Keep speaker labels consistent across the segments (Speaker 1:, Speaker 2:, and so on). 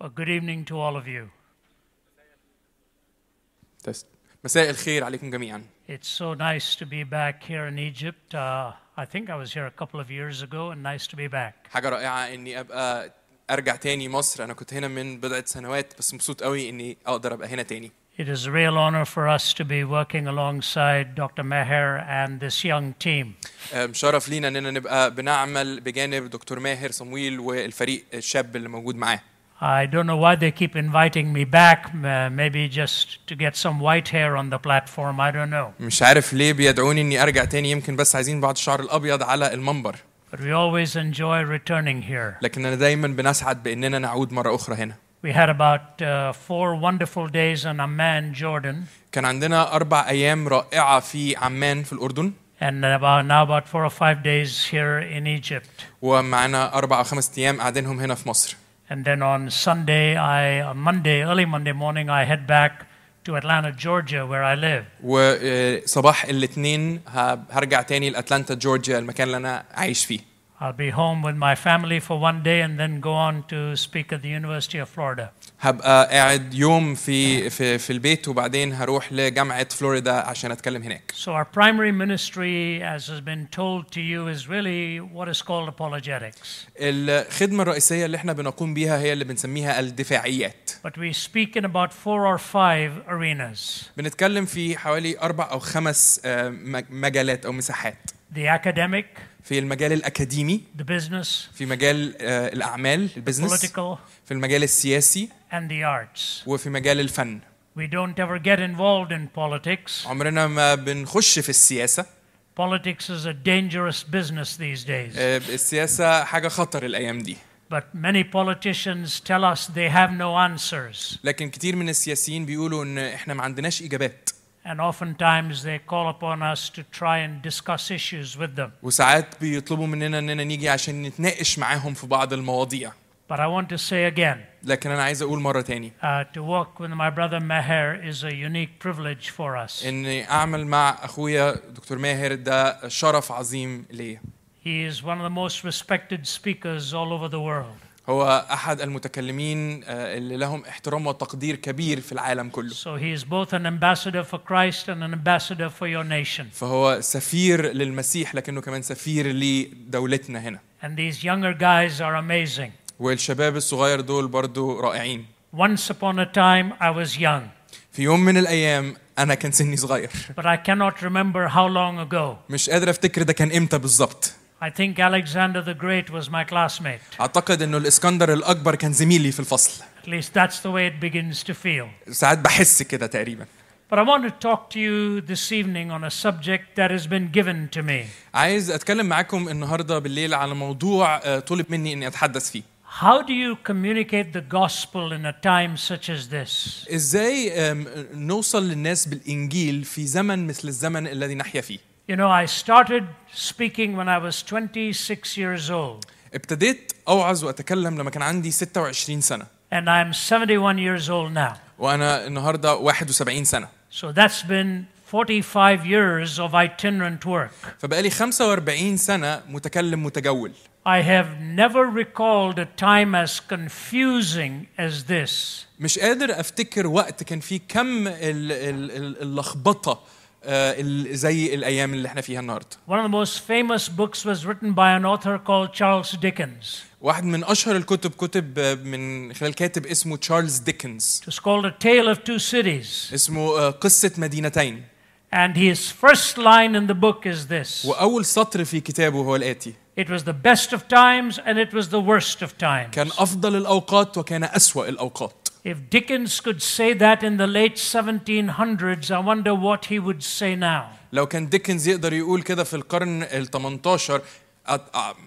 Speaker 1: Well, good evening to all of you.
Speaker 2: تست مساء الخير عليكم جميعا
Speaker 1: It's so nice to be back here in Egypt. Uh, I think I was here a couple of years ago, and nice to be back.
Speaker 2: حاجة رائعة إني أبقى أرجع تاني مصر أنا كنت هنا من بضعة سنوات بس مبسوط قوي إني أقدر أبقى هنا تاني
Speaker 1: It is a real honor for us to be working alongside Dr. Meher and this young team.
Speaker 2: آه، مشرف لينا إننا نبقى بنعمل بجانب دكتور ماهر صمويل والفريق الشاب اللي موجود معاه
Speaker 1: I don't know why they keep inviting me back, m- uh, maybe just to get some white hair on the platform, I don't know.
Speaker 2: مش عارف ليه بيدعوني إني أرجع تاني يمكن بس عايزين بعض الشعر الأبيض على المنبر
Speaker 1: But we always enjoy returning here.
Speaker 2: لكننا دايما بنسعد بإننا نعود مرة أخرى هنا
Speaker 1: We had about uh, four wonderful days in Amman, Jordan,
Speaker 2: كان عندنا أربع أيام رائعة في عمان في الأردن
Speaker 1: and about, now about four or five days here in Egypt.
Speaker 2: ومعانا أربع أو خمس أيام قاعدينهم هنا في مصر
Speaker 1: And then on Sunday, I, on Monday, early Monday morning, I head back to Atlanta, Georgia, where I live.
Speaker 2: وصباح الاثنين هرجع تاني لاتلانتا جورجيا المكان اللي انا عايش فيه
Speaker 1: I'll be home with my family for one day and then go on to speak at the University of Florida.
Speaker 2: هبقى قاعد يوم في في في البيت وبعدين هروح لجامعه فلوريدا عشان اتكلم هناك
Speaker 1: So, our primary ministry, as has been told to you, is really what is called apologetics.
Speaker 2: الخدمه الرئيسيه اللي احنا بنقوم بيها هي اللي بنسميها الدفاعيات
Speaker 1: But we speak in about four or five arenas
Speaker 2: بنتكلم في حوالي اربع او خمس آه، مج- مجالات او مساحات
Speaker 1: the academic,
Speaker 2: في المجال الاكاديمي
Speaker 1: the business,
Speaker 2: في مجال آه، الاعمال البزنس
Speaker 1: political,
Speaker 2: في المجال السياسي
Speaker 1: and the arts.
Speaker 2: وفي مجال الفن
Speaker 1: We don't ever get involved in politics.
Speaker 2: عمرنا ما بنخش في السياسه
Speaker 1: Politics is a dangerous business these days.
Speaker 2: آه، السياسة حاجة خطر الأيام دي
Speaker 1: But many politicians tell us they have no answers.
Speaker 2: لكن كتير من السياسيين بيقولوا إن إحنا ما عندناش إجابات
Speaker 1: And oftentimes they call upon us to try and discuss issues with them.
Speaker 2: وساعات بيطلبوا مننا إننا نيجي عشان نتناقش معاهم في بعض المواضيع
Speaker 1: But I want to say again
Speaker 2: لكن أنا عايز أقول مرة تاني
Speaker 1: uh, to work with my brother Meher is a unique privilege for us.
Speaker 2: إني أعمل مع أخويا دكتور ماهر ده شرف عظيم ليا
Speaker 1: He is one of the most respected speakers all over the world.
Speaker 2: هو أحد المتكلمين آه، اللي لهم احترام وتقدير كبير في العالم كله
Speaker 1: So he is both an ambassador for Christ and an ambassador for your nation.
Speaker 2: فهو سفير للمسيح لكنه كمان سفير لدولتنا هنا
Speaker 1: And these younger guys are amazing.
Speaker 2: والشباب الصغير دول برضو رائعين
Speaker 1: Once upon a time, I was young,
Speaker 2: في يوم من الايام انا كان سني صغير
Speaker 1: but I cannot remember how long ago.
Speaker 2: مش قادر افتكر ده كان امتى بالظبط
Speaker 1: I think Alexander the Great was my classmate.
Speaker 2: اعتقد انه الاسكندر الاكبر كان زميلي في الفصل
Speaker 1: At least that's the way it begins to feel.
Speaker 2: ساعات بحس كده تقريبا
Speaker 1: But I want to talk to you this evening on a subject that has been given to me.
Speaker 2: عايز اتكلم معاكم النهارده بالليل على موضوع آه، طلب مني اني اتحدث فيه
Speaker 1: How do you communicate the gospel in a time such as this?
Speaker 2: ازاي آم، نوصل للناس بالانجيل في زمن مثل الزمن الذي نحيا فيه
Speaker 1: You know, I started speaking when I was 26 years old,
Speaker 2: ابتديت اوعظ واتكلم لما كان عندي 26 سنه
Speaker 1: and I'm 71 years old now.
Speaker 2: وانا النهارده 71 سنه
Speaker 1: So that's been 45 years of itinerant work.
Speaker 2: فبقالي 45 سنه متكلم متجول
Speaker 1: I have never recalled a time as confusing as this.
Speaker 2: مش قادر افتكر وقت كان فيه كم ال- ال- ال- اللخبطه آه، ال- زي الايام اللي احنا فيها النهارده
Speaker 1: One of the most famous books was written by an author called Charles Dickens.
Speaker 2: واحد من اشهر الكتب كتب آه، من خلال كاتب اسمه تشارلز ديكنز
Speaker 1: It was called A Tale of Two Cities.
Speaker 2: اسمه آه، قصه مدينتين
Speaker 1: And his first line in the book is this
Speaker 2: واول سطر في كتابه هو الاتي
Speaker 1: It was the best of times and it was the worst of times.
Speaker 2: كان افضل الاوقات وكان اسوا الاوقات
Speaker 1: If Dickens could say that in the late 1700s, I wonder what he would say now.
Speaker 2: لو كان ديكنز يقدر يقول كده في القرن ال 18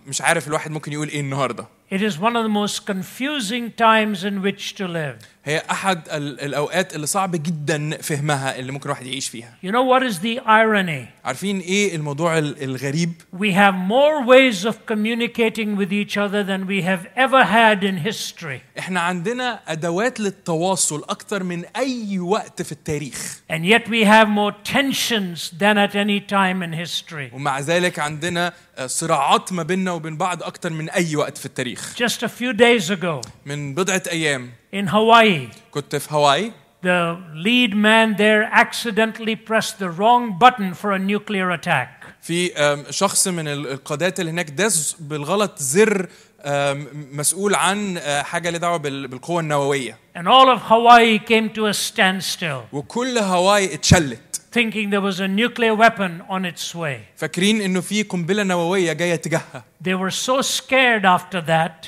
Speaker 2: مش عارف الواحد ممكن يقول ايه النهارده
Speaker 1: It is one of the most confusing times in which to live.
Speaker 2: هي احد ال- الاوقات اللي صعب جدا فهمها اللي ممكن الواحد يعيش فيها
Speaker 1: You know what is the irony?
Speaker 2: عارفين ايه الموضوع ال- الغريب
Speaker 1: We have more ways of communicating with each other than we have ever had in history.
Speaker 2: احنا عندنا ادوات للتواصل اكتر من اي وقت في التاريخ
Speaker 1: And yet we have more tensions than at any time in history.
Speaker 2: ومع ذلك عندنا آه، صراعات ما بيننا وبين بعض اكتر من اي وقت في التاريخ
Speaker 1: Just a few days ago
Speaker 2: من بضعة أيام
Speaker 1: in Hawaii,
Speaker 2: كنت في هاواي
Speaker 1: the lead man there accidentally pressed the wrong button for a nuclear attack.
Speaker 2: في آم، شخص من ال- القادة اللي هناك داس بالغلط زر آم، مسؤول عن آه، حاجة لها دعوة بال- بالقوة النووية
Speaker 1: And all of Hawaii came to a standstill,
Speaker 2: وكل هاواي اتشلت
Speaker 1: thinking there was a nuclear weapon on its way.
Speaker 2: فاكرين انه في قنبلة نووية جاية تجاهها
Speaker 1: They were so scared after that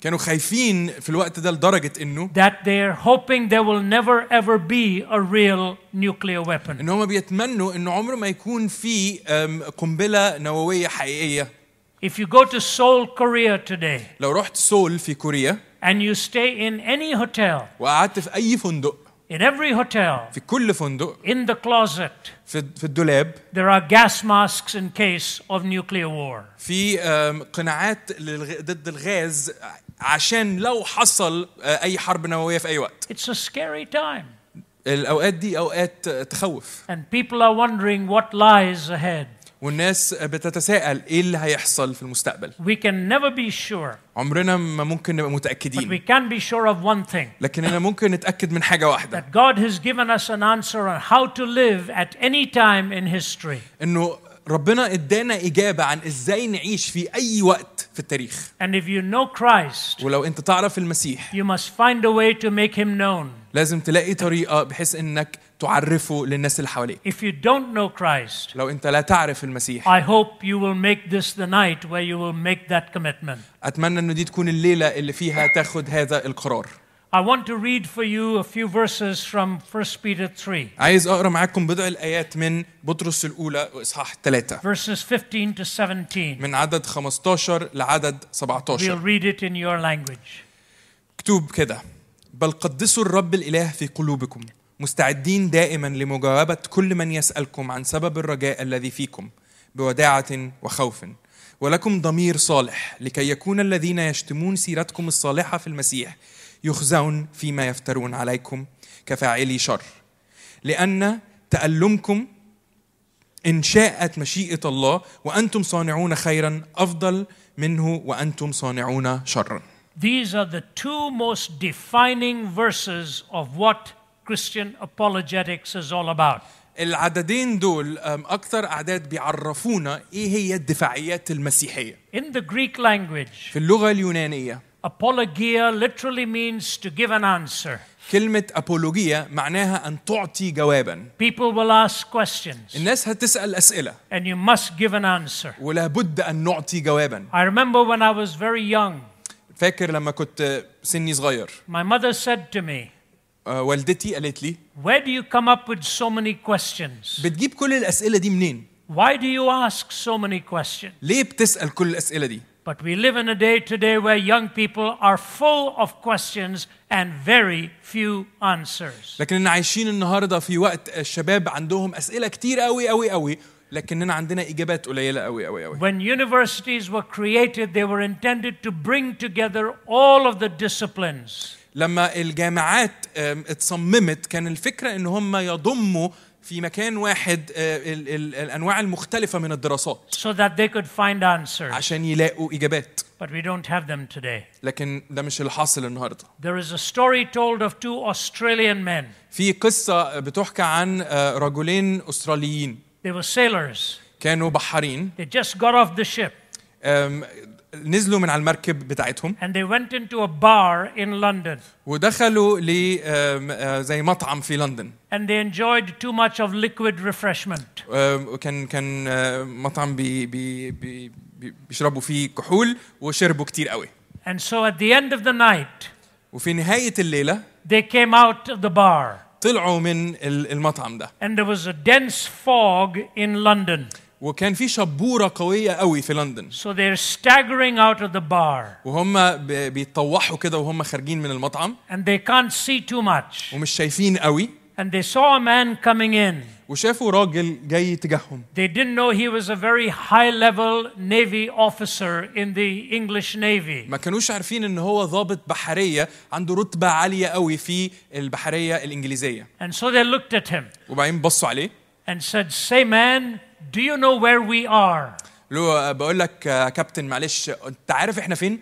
Speaker 2: كانوا خايفين في الوقت ده لدرجة انه
Speaker 1: that they're hoping there will never ever be a real nuclear weapon.
Speaker 2: ان هم بيتمنوا ان عمر ما يكون في آم، قنبلة نووية حقيقية
Speaker 1: If you go to Seoul, Korea today,
Speaker 2: لو رحت سول في كوريا
Speaker 1: and you stay in any hotel,
Speaker 2: وقعدت في اي فندق
Speaker 1: in every hotel,
Speaker 2: في كل فندق
Speaker 1: in the closet,
Speaker 2: في في الدولاب
Speaker 1: there are gas masks in case of nuclear war.
Speaker 2: في آم، قناعات للغ- ضد الغاز عشان لو حصل آه، اي حرب نوويه في اي وقت
Speaker 1: It's a scary time,
Speaker 2: الاوقات دي اوقات آه، تخوف
Speaker 1: and people are wondering what lies ahead.
Speaker 2: والناس آه، بتتساءل ايه اللي هيحصل في المستقبل
Speaker 1: We can never be sure,
Speaker 2: عمرنا ما ممكن نبقى
Speaker 1: but we
Speaker 2: متاكدين
Speaker 1: can be sure of one thing
Speaker 2: لكننا ممكن نتاكد من حاجه واحده
Speaker 1: that God has given us an answer on how to live at any time in history.
Speaker 2: انه ربنا ادانا اجابه عن ازاي نعيش في اي وقت في التاريخ
Speaker 1: And if you know Christ,
Speaker 2: ولو انت تعرف المسيح
Speaker 1: you must find a way to make him known.
Speaker 2: لازم تلاقي طريقه بحيث انك تعرفه للناس اللي حواليك
Speaker 1: If you don't know Christ,
Speaker 2: لو انت لا تعرف المسيح
Speaker 1: I hope you will make this the night where you will make that commitment.
Speaker 2: اتمنى انه دي تكون الليله اللي فيها تاخد هذا القرار
Speaker 1: I want to read for you a few verses from 1 Peter 3,
Speaker 2: عايز اقرا معاكم بضع الايات من بطرس الاولى واصحاح 3
Speaker 1: verses 15 to 17.
Speaker 2: من عدد 15 لعدد 17
Speaker 1: We'll read it in your language.
Speaker 2: مكتوب كده بل قدسوا الرب الاله في قلوبكم مستعدين دائما لمجاوبه كل من يسالكم عن سبب الرجاء الذي فيكم بوداعه وخوف ولكم ضمير صالح لكي يكون الذين يشتمون سيرتكم الصالحه في المسيح يخزون فيما يفترون عليكم كفاعلي شر لان تالمكم إن شاءت مشيئة الله وأنتم صانعون خيرا أفضل منه وأنتم صانعون شرا
Speaker 1: These are the two most defining verses of what Christian apologetics is all about.
Speaker 2: العددين دول أم، أكتر أعداد بيعرفونا إيه هي الدفاعيات المسيحية
Speaker 1: In the Greek language,
Speaker 2: في اللغة اليونانية
Speaker 1: apologia literally means to give an answer.
Speaker 2: كلمة أبولوجية معناها أن تعطي جوابا
Speaker 1: People will ask questions,
Speaker 2: الناس هتسأل أسئلة
Speaker 1: and you must give an answer.
Speaker 2: ولابد أن نعطي جوابا
Speaker 1: I remember when I was very young,
Speaker 2: فاكر لما كنت سني صغير
Speaker 1: my mother said to me,
Speaker 2: أه، والدتي قالت لي
Speaker 1: Where do you come up with so many questions?
Speaker 2: بتجيب كل الأسئلة دي منين
Speaker 1: Why do you ask so many questions?
Speaker 2: ليه بتسأل كل الأسئلة دي
Speaker 1: But we live in a day today where young people are full of questions and very few answers.
Speaker 2: لكننا عايشين النهارده في وقت الشباب عندهم اسئله كتير قوي قوي قوي لكننا عندنا اجابات قليله قوي قوي قوي
Speaker 1: When universities were created, they were intended to bring together all of the disciplines.
Speaker 2: لما الجامعات آم، اتصممت كان الفكره ان هم يضموا في مكان واحد آه، ال- ال- الانواع المختلفه من الدراسات
Speaker 1: so that they could find answers.
Speaker 2: عشان يلاقوا اجابات
Speaker 1: But we don't have them today.
Speaker 2: لكن ده مش اللي حاصل النهارده
Speaker 1: There is a story told of two Australian men.
Speaker 2: في قصه بتحكى عن آه، رجلين استراليين
Speaker 1: They were sailors.
Speaker 2: كانوا بحارين
Speaker 1: They just got off the ship
Speaker 2: آم، نزلوا من على المركب بتاعتهم
Speaker 1: and they went into a bar in London
Speaker 2: ودخلوا ل آم، آه، زي مطعم في لندن
Speaker 1: and they enjoyed too much of liquid refreshment.
Speaker 2: آه، كان كان آه، مطعم بي بي بي بي- بيشربوا فيه كحول وشربوا كتير قوي
Speaker 1: And so at the end of the night,
Speaker 2: وفي نهاية الليلة
Speaker 1: they came out of the bar
Speaker 2: طلعوا من ال- المطعم ده
Speaker 1: and there was a dense fog in London.
Speaker 2: وكان في شبورة قوية قوي في لندن
Speaker 1: So they're staggering out of the bar
Speaker 2: وهم ب- بيتطوحوا كده وهم خارجين من المطعم
Speaker 1: and they can't see too much.
Speaker 2: ومش شايفين قوي
Speaker 1: And they saw a man coming in.
Speaker 2: وشافوا راجل جاي تجاههم
Speaker 1: They didn't know he was a very high level Navy officer in the English Navy.
Speaker 2: ما كانوش عارفين ان هو ضابط بحرية عنده رتبة عالية قوي في البحرية الإنجليزية
Speaker 1: And so they looked at him
Speaker 2: وبعدين بصوا عليه
Speaker 1: and said, Say, man, do you know where we are?
Speaker 2: "آه، قالوا له بقول لك يا كابتن معلش انت عارف احنا فين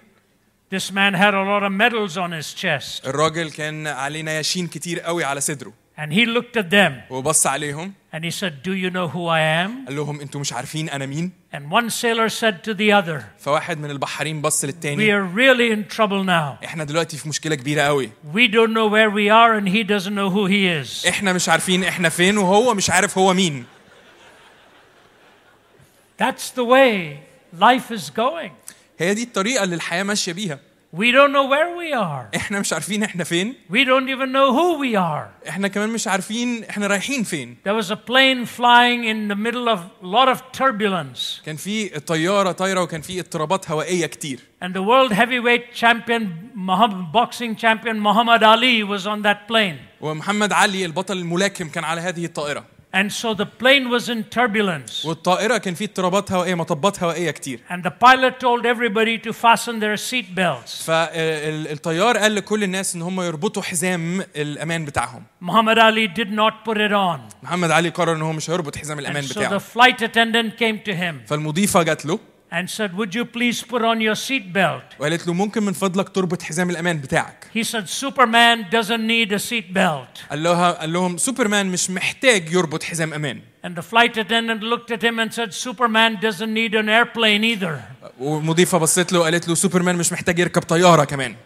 Speaker 1: This man had a lot of medals on his chest,
Speaker 2: الراجل كان عليه نياشين كتير قوي على صدره
Speaker 1: and he looked at them
Speaker 2: وبص عليهم
Speaker 1: and he said, Do you know who I am?
Speaker 2: قال لهم انتوا مش عارفين انا مين
Speaker 1: And one sailor said to the other,
Speaker 2: فواحد من البحارين بص
Speaker 1: We
Speaker 2: للتاني
Speaker 1: are really in trouble now.
Speaker 2: احنا دلوقتي في مشكله كبيره قوي
Speaker 1: We don't know where we are, and he doesn't know who he is.
Speaker 2: احنا مش عارفين احنا فين وهو مش عارف هو مين
Speaker 1: That's the way life is going.
Speaker 2: هي دي الطريقه اللي الحياه ماشيه بيها
Speaker 1: We don't know where we are.
Speaker 2: احنا مش عارفين احنا فين
Speaker 1: We don't even know who we are.
Speaker 2: احنا كمان مش عارفين احنا رايحين فين
Speaker 1: There was a plane flying in the middle of a lot of turbulence,
Speaker 2: كان في طياره طايره وكان في اضطرابات هوائيه كتير
Speaker 1: and the world heavyweight champion, Muhammad, boxing champion Muhammad Ali was on that plane.
Speaker 2: ومحمد علي البطل الملاكم كان على هذه الطائره
Speaker 1: And so the plane was in turbulence.
Speaker 2: والطائره كان في اضطرابات هوائيه مطبات هوائيه كتير
Speaker 1: And the pilot told everybody to fasten their seatbelts.
Speaker 2: فالطيار قال لكل الناس ان هم يربطوا حزام الامان بتاعهم
Speaker 1: Muhammad Ali did not put it on.
Speaker 2: محمد علي قرر ان هو مش هيربط حزام
Speaker 1: And
Speaker 2: الامان
Speaker 1: so the
Speaker 2: بتاعه
Speaker 1: flight attendant came to him
Speaker 2: فالمضيفه جات له
Speaker 1: and said, Would you please put on your seatbelt?
Speaker 2: وقالت له ممكن من فضلك تربط حزام الامان بتاعك
Speaker 1: He said, Superman doesn't need a seatbelt.
Speaker 2: قال لها قال لهم سوبرمان مش محتاج يربط حزام امان
Speaker 1: And the flight attendant looked at him and said, Superman doesn't need an airplane either.
Speaker 2: والمضيفه بصت له وقالت له سوبرمان مش محتاج يركب طياره كمان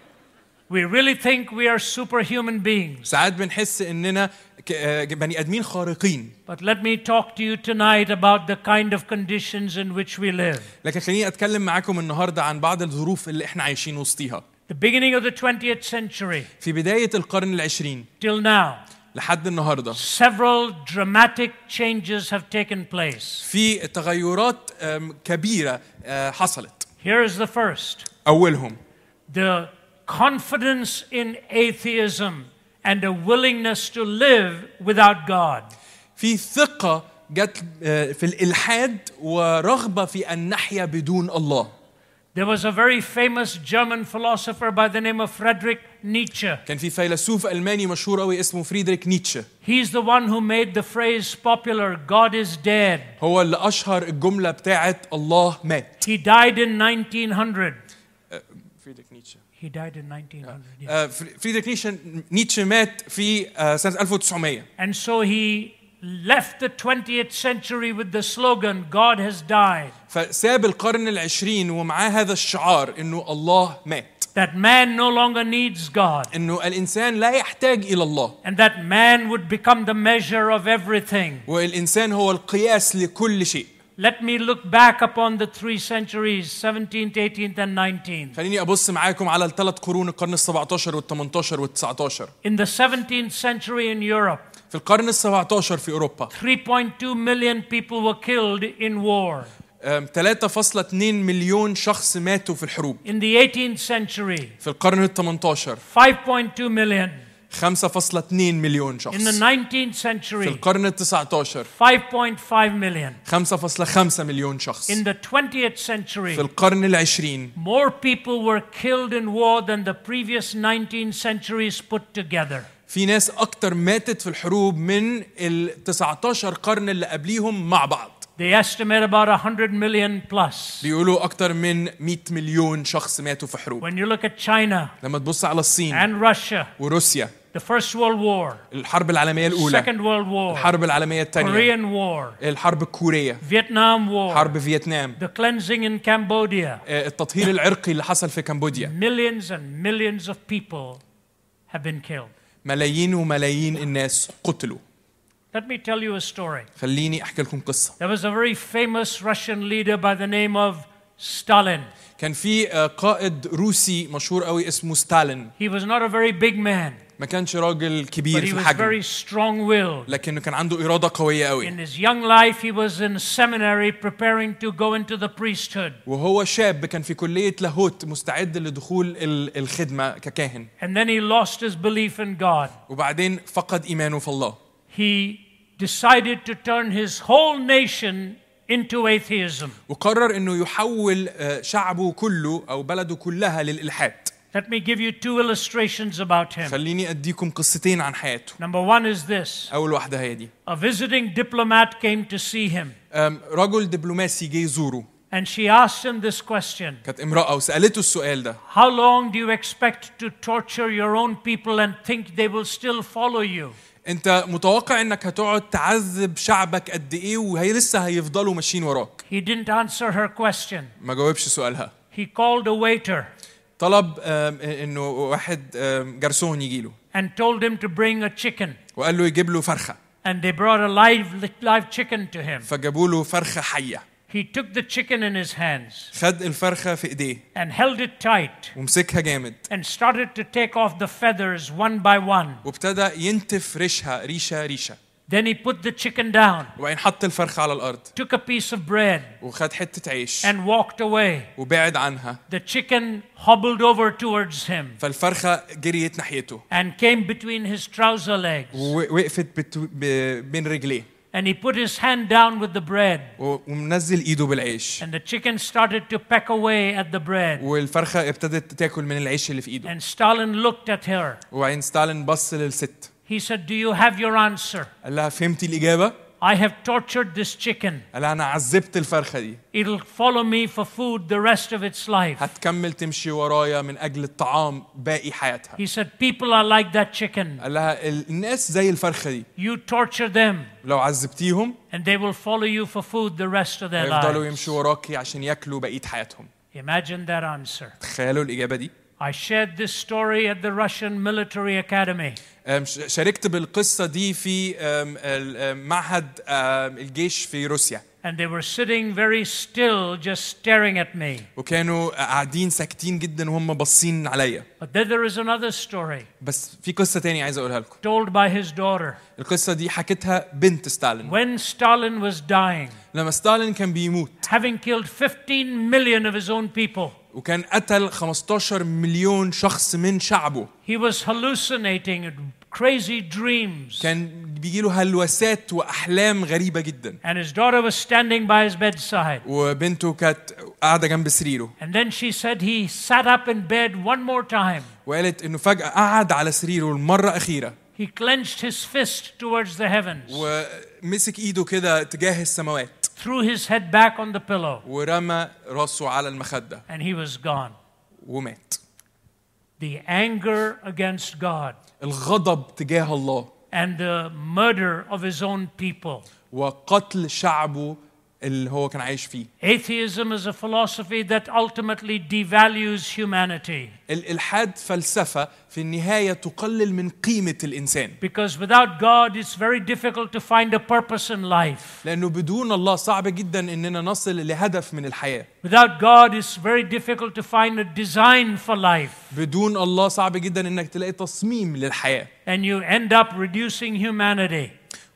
Speaker 1: We really think we are superhuman beings.
Speaker 2: ساعات بنحس اننا ك- آه، بني ادمين خارقين
Speaker 1: But let me talk to you tonight about the kind of conditions in which we live.
Speaker 2: لكن خليني اتكلم معاكم النهارده عن بعض الظروف اللي احنا عايشين وسطيها
Speaker 1: The beginning of the 20th century
Speaker 2: في بدايه القرن العشرين
Speaker 1: till now,
Speaker 2: لحد النهارده
Speaker 1: several dramatic changes have taken place.
Speaker 2: في تغيرات آم، كبيره آه، حصلت
Speaker 1: Here is the first
Speaker 2: اولهم
Speaker 1: the confidence in atheism and a willingness to live without God.
Speaker 2: في ثقه جت آه، في الالحاد ورغبه في ان نحيا بدون الله
Speaker 1: There was a very famous German philosopher by the name of Friedrich Nietzsche.
Speaker 2: كان في فيلسوف الماني مشهور قوي اسمه فريدريك نيتشه
Speaker 1: He's the one who made the phrase popular God is dead.
Speaker 2: هو اللي اشهر الجمله بتاعت الله مات
Speaker 1: He died in 1900.
Speaker 2: فريدريك نيتشه
Speaker 1: He died in 1900. yeah.
Speaker 2: آه، فر- فريدريك نيتشه نيتشه مات في آه، سنه 1900
Speaker 1: And so he left the 20th century with the slogan God has died.
Speaker 2: فساب القرن العشرين ومعاه هذا الشعار انه الله مات
Speaker 1: That man no longer needs God.
Speaker 2: انه الانسان لا يحتاج الى الله
Speaker 1: And that man would become the measure of everything.
Speaker 2: والانسان هو القياس لكل شيء
Speaker 1: Let me look back upon the three centuries 17th, 18th, and 19th.
Speaker 2: خليني ابص معاكم على الثلاث قرون القرن ال17 وال18 وال19
Speaker 1: In the 17th century in Europe,
Speaker 2: في القرن ال17 في اوروبا
Speaker 1: 3.2 million people were killed in war.
Speaker 2: آم، 3.2 مليون شخص ماتوا في الحروب
Speaker 1: In the 18th century,
Speaker 2: في القرن ال18
Speaker 1: 5.2 million.
Speaker 2: 5.2 مليون شخص
Speaker 1: In the 19th
Speaker 2: في
Speaker 1: century,
Speaker 2: القرن ال19
Speaker 1: 5.5 million.
Speaker 2: 5.5 مليون شخص
Speaker 1: In the 20th
Speaker 2: في
Speaker 1: century,
Speaker 2: القرن العشرين
Speaker 1: more people were killed in war than the previous 19 centuries put together.
Speaker 2: في ناس أكتر ماتت في الحروب من ال 19 قرن اللي قبليهم مع بعض
Speaker 1: They estimate about 100 million plus.
Speaker 2: بيقولوا أكتر من 100 مليون شخص ماتوا في حروب
Speaker 1: When you look at China
Speaker 2: لما تبص على الصين
Speaker 1: and Russia,
Speaker 2: وروسيا
Speaker 1: the First World War,
Speaker 2: الحرب العالمية الأولى
Speaker 1: Second World War,
Speaker 2: الحرب العالمية الثانية
Speaker 1: Korean War,
Speaker 2: الحرب الكورية
Speaker 1: Vietnam War,
Speaker 2: حرب فيتنام
Speaker 1: the cleansing in Cambodia,
Speaker 2: آه، التطهير العرقي اللي حصل في كمبوديا
Speaker 1: millions and millions of people have been killed.
Speaker 2: ملايين وملايين الناس قتلوا
Speaker 1: Let me tell you a story.
Speaker 2: خليني أحكي لكم قصة
Speaker 1: There was a very famous Russian leader by the name of Stalin.
Speaker 2: كان في آه، قائد روسي مشهور قوي اسمه ستالين
Speaker 1: He was not a very big man,
Speaker 2: ما كانش راجل كبير
Speaker 1: but he
Speaker 2: في
Speaker 1: was
Speaker 2: الحجم
Speaker 1: very strong willed.
Speaker 2: لكنه كان عنده إرادة قوية قوي
Speaker 1: In his young life, he was in seminary preparing to go into the priesthood.
Speaker 2: وهو شاب كان في كلية لاهوت مستعد لدخول ال- الخدمة ككاهن
Speaker 1: And then he lost his belief in God.
Speaker 2: وبعدين فقد إيمانه في الله
Speaker 1: He decided to turn his whole nation into atheism.
Speaker 2: وقرر أنه يحول آه، شعبه كله أو بلده كلها للإلحاد
Speaker 1: Let me give you two illustrations about him.
Speaker 2: خليني أديكم قصتين عن حياته
Speaker 1: Number one is this
Speaker 2: أول واحدة هي دي
Speaker 1: a visiting diplomat came to see him
Speaker 2: آم، رجل دبلوماسي جه يزوره
Speaker 1: And she asked him this question
Speaker 2: كانت امرأة وسألته السؤال ده
Speaker 1: How long do you expect to torture your own people and think they will still follow you?
Speaker 2: انت متوقع انك هتقعد تعذب شعبك قد ايه وهي لسه هيفضلوا ماشيين وراك
Speaker 1: He didn't answer her question.
Speaker 2: ما جاوبش سؤالها
Speaker 1: He called a waiter
Speaker 2: طلب آم، انه واحد آم، جرسون يجيله
Speaker 1: and told him to bring a chicken.
Speaker 2: وقال له يجيب له فرخه
Speaker 1: And they brought a live, live chicken to him.
Speaker 2: فجابوا له فرخه حيه
Speaker 1: He took the chicken in his hands
Speaker 2: خد الفرخه في ايديه
Speaker 1: and held it tight
Speaker 2: ومسكها جامد
Speaker 1: and started to take off the feathers one by one.
Speaker 2: وابتدى ينتف ريشها ريشه ريشه
Speaker 1: Then he put the chicken down,
Speaker 2: وبعدين حط الفرخه على الارض
Speaker 1: took a piece of bread,
Speaker 2: وخد حته عيش
Speaker 1: and walked away.
Speaker 2: وبعد عنها
Speaker 1: The chicken hobbled over towards him
Speaker 2: فالفرخه جريت ناحيته
Speaker 1: and came between his trouser legs.
Speaker 2: ووقفت بت... ب... بين رجليه
Speaker 1: And he put his hand down with the bread,
Speaker 2: و- ومنزل ايده بالعيش
Speaker 1: and the chicken started to peck away at the bread.
Speaker 2: والفرخه ابتدت تاكل من العيش اللي في ايده
Speaker 1: And Stalin looked at her.
Speaker 2: وبعدين ستالين بص للست
Speaker 1: He said, Do you have your answer?
Speaker 2: قال لها فهمتي الاجابه
Speaker 1: I have tortured this chicken.
Speaker 2: قال لها انا عذبت الفرخه دي
Speaker 1: It'll follow me for food the rest of its life.
Speaker 2: هتكمل تمشي ورايا من اجل الطعام باقي حياتها
Speaker 1: He said, People are like that chicken.
Speaker 2: قال لها "ال- الناس زي الفرخه دي
Speaker 1: You torture them,
Speaker 2: لو عذبتيهم
Speaker 1: and they will follow you for food the rest of their
Speaker 2: هيفضلوا
Speaker 1: lives.
Speaker 2: يمشوا وراكي عشان ياكلوا بقيه حياتهم
Speaker 1: Imagine that answer.
Speaker 2: تخيلوا الاجابه دي
Speaker 1: I shared this story at the Russian Military Academy.
Speaker 2: أم، ش- شاركت بالقصه دي في أم، ال- أم، معهد أم، الجيش في روسيا
Speaker 1: And they were sitting very still, just staring at me.
Speaker 2: وكانوا قاعدين ساكتين جدا وهم باصين عليا
Speaker 1: But then there is another story
Speaker 2: بس في قصه تاني عايز اقولها لكم
Speaker 1: told by his daughter.
Speaker 2: القصه دي حكتها بنت ستالين
Speaker 1: When Stalin was dying,
Speaker 2: لما ستالين كان بيموت
Speaker 1: having killed 15 million of his own people,
Speaker 2: وكان قتل 15 مليون شخص من شعبه
Speaker 1: he was hallucinating crazy dreams.
Speaker 2: كان بيجيله هلوسات واحلام غريبه جدا
Speaker 1: And his daughter was standing by his bedside.
Speaker 2: وبنته كانت قاعده جنب سريره
Speaker 1: And then she said he sat up in bed one more time.
Speaker 2: وقالت انه فجاه قعد على سريره المره الاخيره
Speaker 1: He clenched his fist towards the heavens,
Speaker 2: ومسك ايده كده تجاه السماوات
Speaker 1: threw his head back on the pillow,
Speaker 2: ورمى راسه على المخده
Speaker 1: and he was gone.
Speaker 2: ومات
Speaker 1: The anger against God
Speaker 2: الغضب تجاه الله
Speaker 1: and the murder of his own people.
Speaker 2: وقتل شعبه اللي هو كان عايش فيه
Speaker 1: Atheism is a philosophy that ultimately devalues humanity
Speaker 2: الالحاد فلسفه في النهايه تقلل من قيمه الانسان
Speaker 1: because without God, it's very difficult to find a purpose in life.
Speaker 2: لانه بدون الله صعب جدا اننا نصل لهدف من الحياه
Speaker 1: Without God, it's very difficult to find a design for life.
Speaker 2: بدون الله صعب جدا انك تلاقي تصميم للحياه
Speaker 1: And you end up reducing humanity.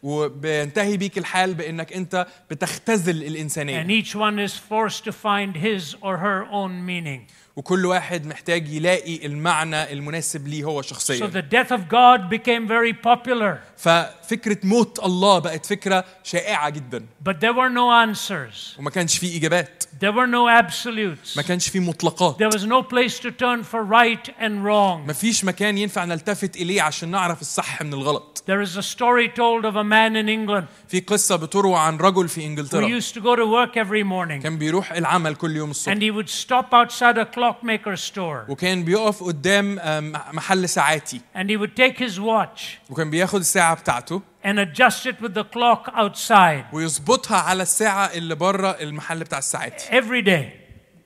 Speaker 2: وبينتهي بيك الحال بانك انت بتختزل
Speaker 1: And
Speaker 2: الانسانيه
Speaker 1: each one is forced to find his or her own meaning.
Speaker 2: وكل واحد محتاج يلاقي المعنى المناسب ليه هو
Speaker 1: So
Speaker 2: شخصيا
Speaker 1: the death of God became very popular,
Speaker 2: ففكره موت الله بقت فكره شائعه جدا
Speaker 1: but there were no answers.
Speaker 2: وما كانش فيه اجابات
Speaker 1: There were no absolutes.
Speaker 2: ما كانش فيه مطلقات
Speaker 1: There was no place to turn for right and wrong.
Speaker 2: ما فيش مكان ينفع نلتفت اليه عشان نعرف الصح من الغلط
Speaker 1: There is a story told of a man in England
Speaker 2: في قصه بتروى عن رجل في
Speaker 1: who
Speaker 2: انجلترا
Speaker 1: used to go to work every morning
Speaker 2: كان بيروح العمل كل يوم الصبح
Speaker 1: and he would stop outside a clockmaker's store
Speaker 2: وكان بيقف قدام آه، مح- محل ساعاتي
Speaker 1: and he would take his watch
Speaker 2: وكان بياخد الساعه بتاعته
Speaker 1: and adjust it with the clock outside
Speaker 2: ويظبطها على الساعة اللي بره المحل بتاع الساعات
Speaker 1: every day.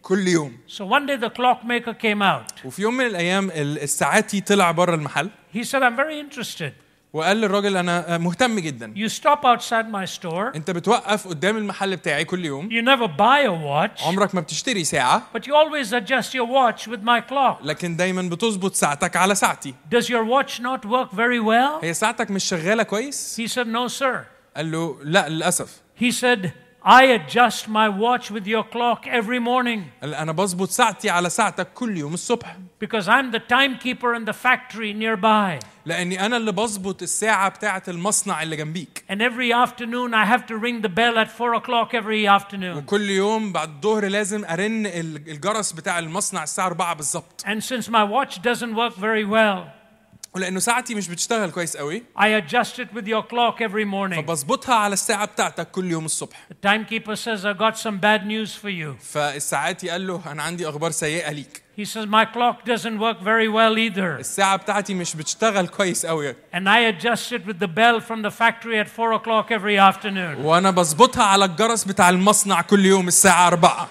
Speaker 2: كل يوم
Speaker 1: So one day the clockmaker came out.
Speaker 2: وفي يوم من الأيام ال- الساعاتي طلع بره المحل
Speaker 1: He said, I'm very interested.
Speaker 2: وقال للراجل أنا مهتم جدا
Speaker 1: You stop outside my store,
Speaker 2: أنت بتوقف قدام المحل بتاعي كل يوم
Speaker 1: you never buy a watch,
Speaker 2: عمرك ما بتشتري ساعة
Speaker 1: but you always adjust your watch with my clock.
Speaker 2: لكن دايما بتظبط ساعتك على ساعتي
Speaker 1: Does your watch not work very well?
Speaker 2: هي ساعتك مش شغالة كويس
Speaker 1: He said, No, sir.
Speaker 2: قال له لا للأسف
Speaker 1: He said, I adjust my watch with your clock every morning
Speaker 2: قال أنا بظبط ساعتي على ساعتك كل يوم الصبح
Speaker 1: because I'm the timekeeper in the factory nearby.
Speaker 2: لأني أنا اللي بظبط الساعة بتاعة المصنع اللي جنبيك
Speaker 1: And every afternoon, I have to ring the bell at four o'clock every afternoon.
Speaker 2: وكل يوم بعد الظهر لازم أرن ال- الجرس بتاع المصنع الساعة 4 بالظبط
Speaker 1: And since my watch doesn't work very well,
Speaker 2: ولانه ساعتي مش بتشتغل كويس قوي
Speaker 1: I adjust it with your clock every morning.
Speaker 2: فبظبطها على الساعه بتاعتك كل يوم الصبح
Speaker 1: The timekeeper says, I got some bad news for you.
Speaker 2: فالساعاتي قال له انا عندي اخبار سيئه ليك
Speaker 1: He says, My clock doesn't work very well either.
Speaker 2: الساعه بتاعتي مش بتشتغل كويس قوي
Speaker 1: And I adjust it with the bell from the factory at 4 o'clock every afternoon.
Speaker 2: وانا بظبطها على الجرس بتاع المصنع كل يوم الساعه 4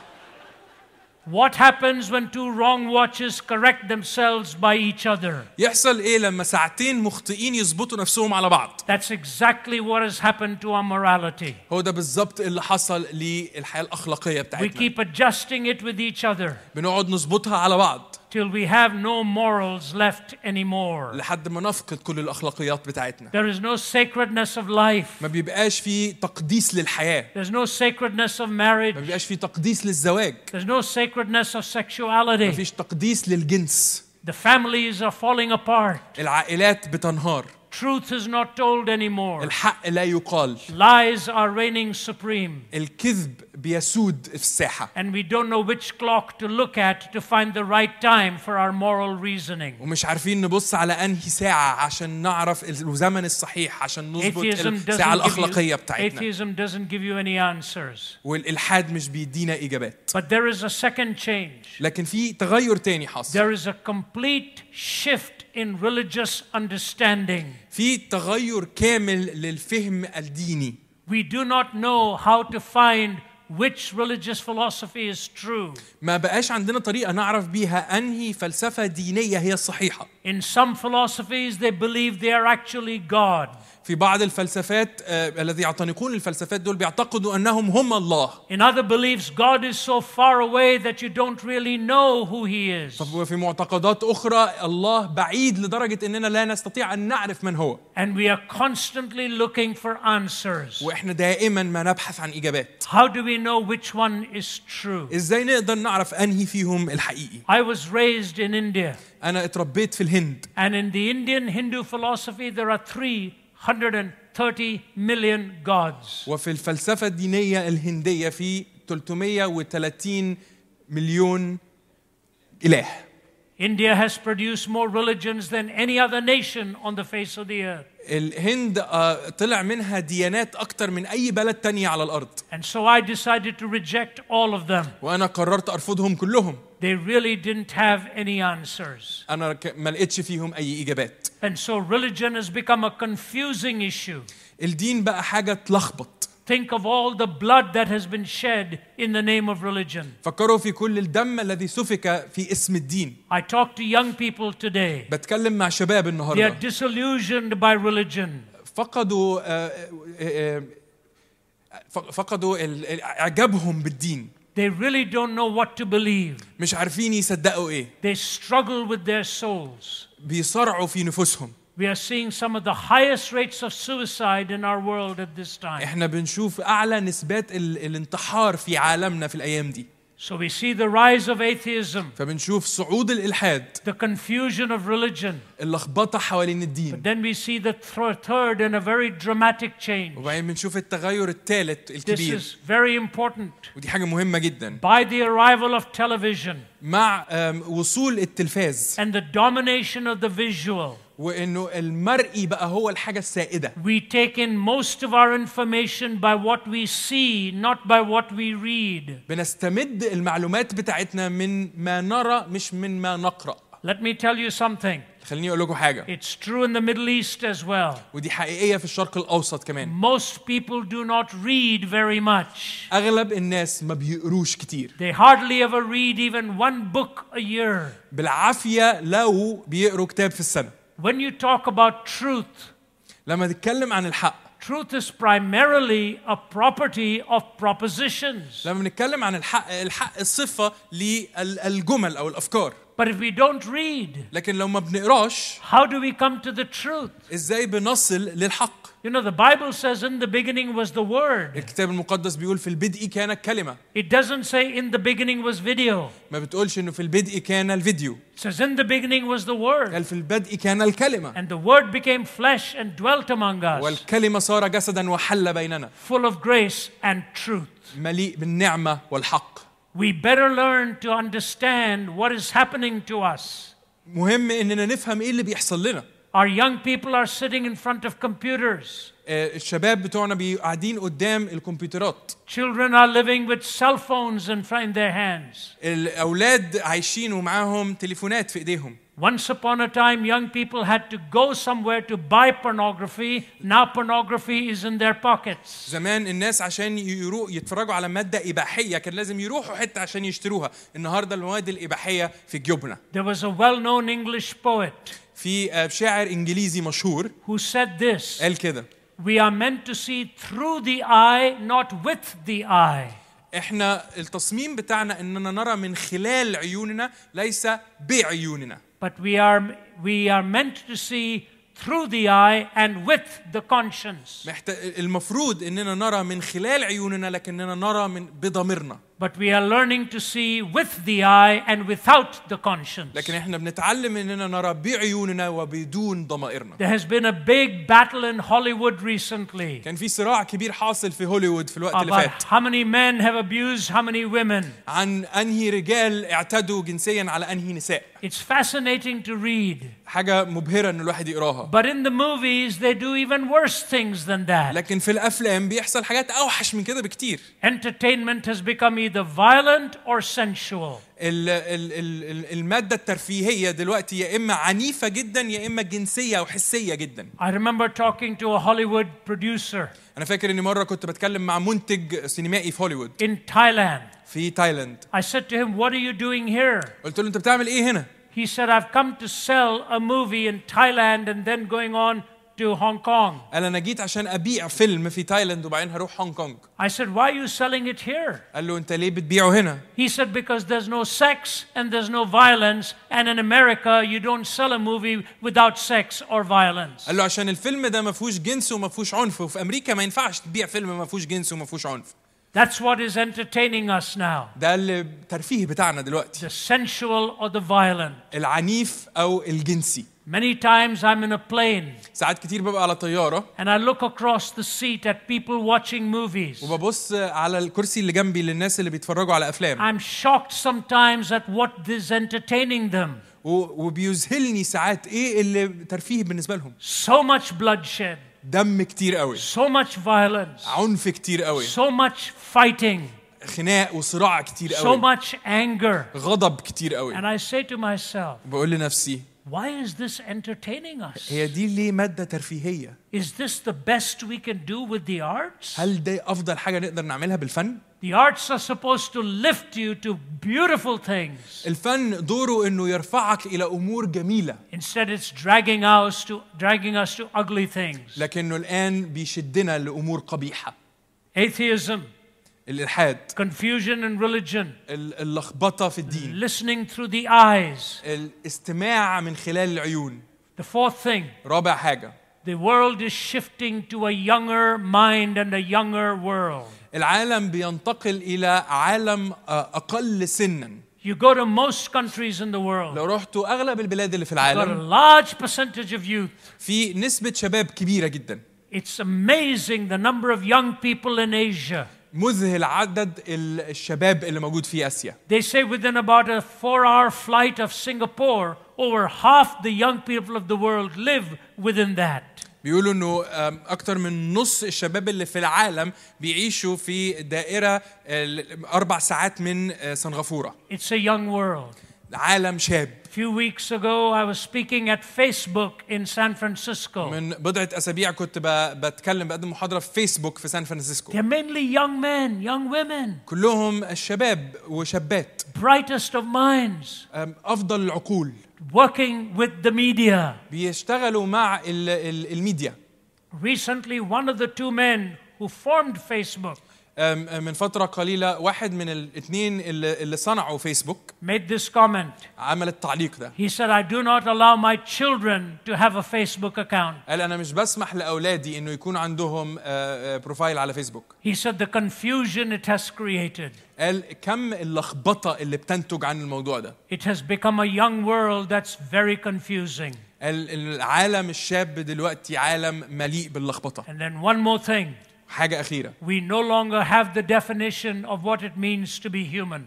Speaker 1: What happens when two wrong watches correct themselves by each other?
Speaker 2: يحصل ايه لما ساعتين مخطئين يظبطوا نفسهم على بعض
Speaker 1: That's exactly what has happened to our morality.
Speaker 2: هو ده بالظبط اللي حصل للحياه الاخلاقيه
Speaker 1: We
Speaker 2: بتاعتنا
Speaker 1: keep adjusting it with each other
Speaker 2: بنقعد نظبطها على بعض
Speaker 1: till we have no morals left anymore.
Speaker 2: لحد ما نفقد كل الاخلاقيات بتاعتنا
Speaker 1: There is no sacredness of life.
Speaker 2: ما بيبقاش في تقديس للحياه
Speaker 1: There's no sacredness of
Speaker 2: ما
Speaker 1: marriage.
Speaker 2: بيبقاش في تقديس للزواج
Speaker 1: There's no sacredness of
Speaker 2: ما
Speaker 1: sexuality.
Speaker 2: فيش تقديس للجنس
Speaker 1: The families are falling apart.
Speaker 2: العائلات بتنهار
Speaker 1: Truth is not told anymore.
Speaker 2: الحق لا يقال
Speaker 1: Lies are reigning supreme.
Speaker 2: الكذب بيسود في الساحه
Speaker 1: And we don't know which clock to look at to find the right time for our moral reasoning.
Speaker 2: ومش عارفين نبص على انهي ساعه عشان نعرف الزمن الصحيح عشان نظبط
Speaker 1: Atheism
Speaker 2: الساعه
Speaker 1: doesn't, give
Speaker 2: الاخلاقيه
Speaker 1: you,
Speaker 2: بتاعتنا
Speaker 1: atheism doesn't give you any answers.
Speaker 2: والالحاد مش بيدينا اجابات
Speaker 1: But there is a second change.
Speaker 2: لكن في تغير تاني حاصل
Speaker 1: There is a complete shift in religious understanding.
Speaker 2: في تغير كامل للفهم الديني
Speaker 1: We do not know how to find which religious philosophy is true.
Speaker 2: ما بقاش عندنا طريقه نعرف بيها انهي فلسفه دينيه هي الصحيحه
Speaker 1: In some philosophies, they believe they are actually God.
Speaker 2: في بعض الفلسفات آه، الذي يعتنقون الفلسفات دول بيعتقدوا انهم هم الله
Speaker 1: In other beliefs, God is so far away that you don't really know who He is.
Speaker 2: وفي معتقدات اخرى الله بعيد لدرجه اننا لا نستطيع ان نعرف من هو
Speaker 1: And we are constantly looking for answers.
Speaker 2: واحنا دائما ما نبحث عن اجابات
Speaker 1: How do we know which one is true?
Speaker 2: ازاي نقدر نعرف انهي فيهم الحقيقي
Speaker 1: I was raised in India,
Speaker 2: انا اتربيت في الهند
Speaker 1: and in the Indian Hindu philosophy, there are 330 million gods.
Speaker 2: وفي الفلسفه الدينيه الهنديه في 330 مليون اله
Speaker 1: India has produced more religions than any other nation on the face of the earth.
Speaker 2: الهند آه، طلع منها ديانات اكتر من اي بلد تانية على الارض
Speaker 1: And so I decided to reject all of them.
Speaker 2: وانا قررت ارفضهم كلهم
Speaker 1: They really didn't have any answers.
Speaker 2: انا ك- ما لقيتش فيهم اي اجابات
Speaker 1: And so religion has become a confusing issue.
Speaker 2: الدين بقى حاجه تلخبط
Speaker 1: Think of all the blood that has been shed in the name of religion.
Speaker 2: فكروا في كل الدم الذي سفك في اسم الدين
Speaker 1: I talk to young people today.
Speaker 2: بتكلم مع شباب
Speaker 1: They are
Speaker 2: النهارده
Speaker 1: disillusioned by religion.
Speaker 2: فقدوا آه، آه، آه، ف- فقدوا ال- ال- اعجابهم بالدين
Speaker 1: They really don't know what to believe.
Speaker 2: مش عارفين يصدقوا ايه
Speaker 1: They struggle with their souls.
Speaker 2: بيصرعوا في نفوسهم
Speaker 1: We are seeing some of the highest rates of suicide in our world at this time.
Speaker 2: احنا بنشوف اعلى نسبات ال- الانتحار في عالمنا في الايام دي
Speaker 1: So we see the rise of atheism,
Speaker 2: فبنشوف صعود الالحاد
Speaker 1: the confusion of religion.
Speaker 2: اللخبطه حوالين
Speaker 1: But
Speaker 2: الدين
Speaker 1: then we see the thir- third and a very dramatic change.
Speaker 2: وبعدين بنشوف التغير الثالث
Speaker 1: This
Speaker 2: الكبير
Speaker 1: is very important.
Speaker 2: ودي حاجه مهمه جدا
Speaker 1: By the arrival of television
Speaker 2: مع آم، وصول التلفاز
Speaker 1: and the domination of the visual,
Speaker 2: وانه المرئي بقى هو الحاجه السائده
Speaker 1: we take in most of our information by what we see, not by what we read.
Speaker 2: بنستمد المعلومات بتاعتنا من ما نرى مش من ما نقرا
Speaker 1: Let me tell you something.
Speaker 2: خليني اقول لكم حاجه
Speaker 1: It's true in the Middle East as well.
Speaker 2: ودي حقيقيه في الشرق الاوسط كمان
Speaker 1: Most people do not read very much.
Speaker 2: اغلب الناس ما بيقروش كتير
Speaker 1: They hardly ever read even one book a year.
Speaker 2: بالعافيه لو بيقروا كتاب في السنه
Speaker 1: When you talk about truth,
Speaker 2: لما نتكلم عن الحق
Speaker 1: truth is primarily a property of propositions.
Speaker 2: لما نتكلم عن الحق الحق صفه للجمل او الافكار
Speaker 1: But if we don't read,
Speaker 2: لكن لو ما بنقراش
Speaker 1: how do we come to the truth?
Speaker 2: ازاي بنصل للحق
Speaker 1: You know, the Bible says in the beginning was the Word.
Speaker 2: الكتاب المقدس بيقول في البدء كان الكلمه
Speaker 1: It doesn't say in the beginning was video.
Speaker 2: ما بتقولش انه في البدء كان الفيديو
Speaker 1: It says in the beginning was the Word.
Speaker 2: قال في البدء كان الكلمه
Speaker 1: And the Word became flesh and dwelt among us,
Speaker 2: والكلمه صار جسدا وحل بيننا
Speaker 1: full of grace and truth.
Speaker 2: مليء بالنعمه والحق
Speaker 1: We better learn to understand what is happening to us.
Speaker 2: مهم اننا نفهم ايه إيه اللي بيحصل لنا
Speaker 1: Our young people are sitting in front of computers.
Speaker 2: آه، الشباب بتوعنا بي- قاعدين قدام الكمبيوترات
Speaker 1: Children are living with cell phones in, fr- in their hands.
Speaker 2: الاولاد عايشين ومعاهم تليفونات في ايديهم
Speaker 1: Once upon a time, young people had to go somewhere to buy pornography. Now, pornography is in their pockets.
Speaker 2: زمان الناس عشان يرو يتفرجوا على ماده اباحيه كان لازم يروحوا حته عشان يشتروها النهارده المواد الاباحيه في جيوبنا
Speaker 1: There was a well known English poet
Speaker 2: في آه، شاعر انجليزي مشهور
Speaker 1: who said this
Speaker 2: قال كده
Speaker 1: We are meant to see through the eye, not with the eye.
Speaker 2: احنا التصميم بتاعنا اننا نرى من خلال عيوننا ليس بعيوننا
Speaker 1: But we are, we are meant to see through the eye and with the conscience.
Speaker 2: محت... المفروض اننا نرى من خلال عيوننا لكننا نرى من بضميرنا
Speaker 1: But we are learning to see with the eye and without the conscience.
Speaker 2: لكن احنا بنتعلم اننا نرى بعيوننا وبدون ضمائرنا
Speaker 1: There has been a big battle in Hollywood recently
Speaker 2: كان في صراع كبير حاصل في هوليوود في الوقت اللي
Speaker 1: about
Speaker 2: فات
Speaker 1: how many men have abused how many women.
Speaker 2: عن انهي رجال اعتدوا جنسيا على انهي نساء
Speaker 1: It's fascinating to read.
Speaker 2: حاجه مبهره ان الواحد يقراها
Speaker 1: But in the movies, they do even worse things than that.
Speaker 2: لكن في الافلام بيحصل حاجات اوحش من كده بكتير
Speaker 1: Entertainment has become either violent or sensual.
Speaker 2: ال ال ال ال- الماده الترفيهيه دلوقتي يا اما عنيفه جدا يا اما جنسيه وحسيه جدا
Speaker 1: I remember talking to a Hollywood producer
Speaker 2: انا فاكر اني مره كنت بتكلم مع منتج سينمائي في هوليوود
Speaker 1: in Thailand.
Speaker 2: في تايلاند
Speaker 1: I said to him, What are you doing here?
Speaker 2: قلت له انت بتعمل ايه هنا
Speaker 1: He said, I've come to sell a movie in Thailand and then going on to Hong Kong.
Speaker 2: قال انا جيت عشان ابيع فيلم في تايلاند وبعدين هروح هونج كونج
Speaker 1: I said, Why are you selling it here?
Speaker 2: قال له انت ليه بتبيعه هنا
Speaker 1: He said, Because there's no sex and there's no violence, and in America, you don't sell a movie without sex or violence.
Speaker 2: قال له عشان الفيلم ده ما فيهوش جنس وما فيهوش عنف وفي امريكا ما ينفعش تبيع فيلم ما فيهوش جنس وما فيهوش عنف
Speaker 1: That's what is entertaining us now
Speaker 2: ده الترفيه بتاعنا دلوقتي
Speaker 1: the sensual or the violent.
Speaker 2: العنيف او الجنسي
Speaker 1: Many times I'm in a plane
Speaker 2: ساعات كتير ببقى على طياره
Speaker 1: and I look across the seat at people watching movies.
Speaker 2: وببص على الكرسي اللي جنبي للناس اللي بيتفرجوا على افلام
Speaker 1: I'm shocked sometimes at what is entertaining them.
Speaker 2: و- وبيذهلني ساعات ايه اللي ترفيه بالنسبه لهم
Speaker 1: So much bloodshed,
Speaker 2: دم كتير قوي
Speaker 1: so much violence,
Speaker 2: عنف كتير قوي
Speaker 1: so much fighting,
Speaker 2: خناق وصراع كتير
Speaker 1: so
Speaker 2: قوي
Speaker 1: much anger.
Speaker 2: غضب كتير قوي
Speaker 1: And I say to myself,
Speaker 2: بقول لنفسي
Speaker 1: why is this entertaining us?
Speaker 2: هي دي ليه ماده ترفيهيه
Speaker 1: Is this the best we can do with the arts?
Speaker 2: هل دي افضل حاجه نقدر نعملها بالفن
Speaker 1: The arts are supposed to lift you to beautiful things.
Speaker 2: الفن دوره انه يرفعك الى امور جميله
Speaker 1: Instead, it's dragging us to dragging us to ugly things.
Speaker 2: لكنه الان بيشدنا لامور قبيحه
Speaker 1: Atheism,
Speaker 2: الالحاد
Speaker 1: confusion in religion,
Speaker 2: ال- اللخبطه في الدين
Speaker 1: listening through the eyes.
Speaker 2: الاستماع من خلال العيون
Speaker 1: The fourth thing,
Speaker 2: رابع حاجه
Speaker 1: the world is shifting to a younger mind and a younger world.
Speaker 2: العالم بينتقل الى عالم آه، اقل سنا
Speaker 1: You go to most countries in the world,
Speaker 2: لو رحتوا اغلب البلاد اللي في
Speaker 1: got a
Speaker 2: العالم
Speaker 1: large percentage of youth.
Speaker 2: في نسبه شباب كبيره جدا
Speaker 1: It's amazing the number of young people in Asia.
Speaker 2: مذهل عدد ال- الشباب اللي موجود في اسيا
Speaker 1: They say within about a four hour flight of Singapore, over half the young people of the world live within that.
Speaker 2: بيقولوا انه آم، اكتر من نص الشباب اللي في العالم بيعيشوا في دائره ال- اربع ساعات من آه، سنغافوره
Speaker 1: It's a young world.
Speaker 2: عالم شاب
Speaker 1: A few weeks ago, I was speaking at Facebook in San Francisco.
Speaker 2: من بضعه اسابيع كنت ب- بتكلم بقدم محاضره في فيسبوك في سان فرانسيسكو
Speaker 1: They're mainly young men, young women,
Speaker 2: كلهم الشباب وشابات
Speaker 1: brightest of minds,
Speaker 2: أم، افضل العقول
Speaker 1: working with the media.
Speaker 2: بيشتغلوا مع ال ال الميديا
Speaker 1: Recently, one of the two men who formed Facebook
Speaker 2: أم، أم، من فتره قليله واحد من الاثنين اللي اللي صنعوا فيسبوك
Speaker 1: made this comment.
Speaker 2: عمل التعليق ده
Speaker 1: He said, I do not allow my children to have a Facebook account.
Speaker 2: قال انا مش بسمح لاولادي انه يكون عندهم آه، آه، بروفايل على فيسبوك
Speaker 1: He said the confusion it has created.
Speaker 2: قال كم اللخبطه اللي بتنتج عن الموضوع ده
Speaker 1: It has become a young world that's very confusing.
Speaker 2: قال العالم الشاب دلوقتي عالم مليء باللخبطه
Speaker 1: And then one more thing.
Speaker 2: حاجه اخيره
Speaker 1: We no longer have the definition of what it means to be human.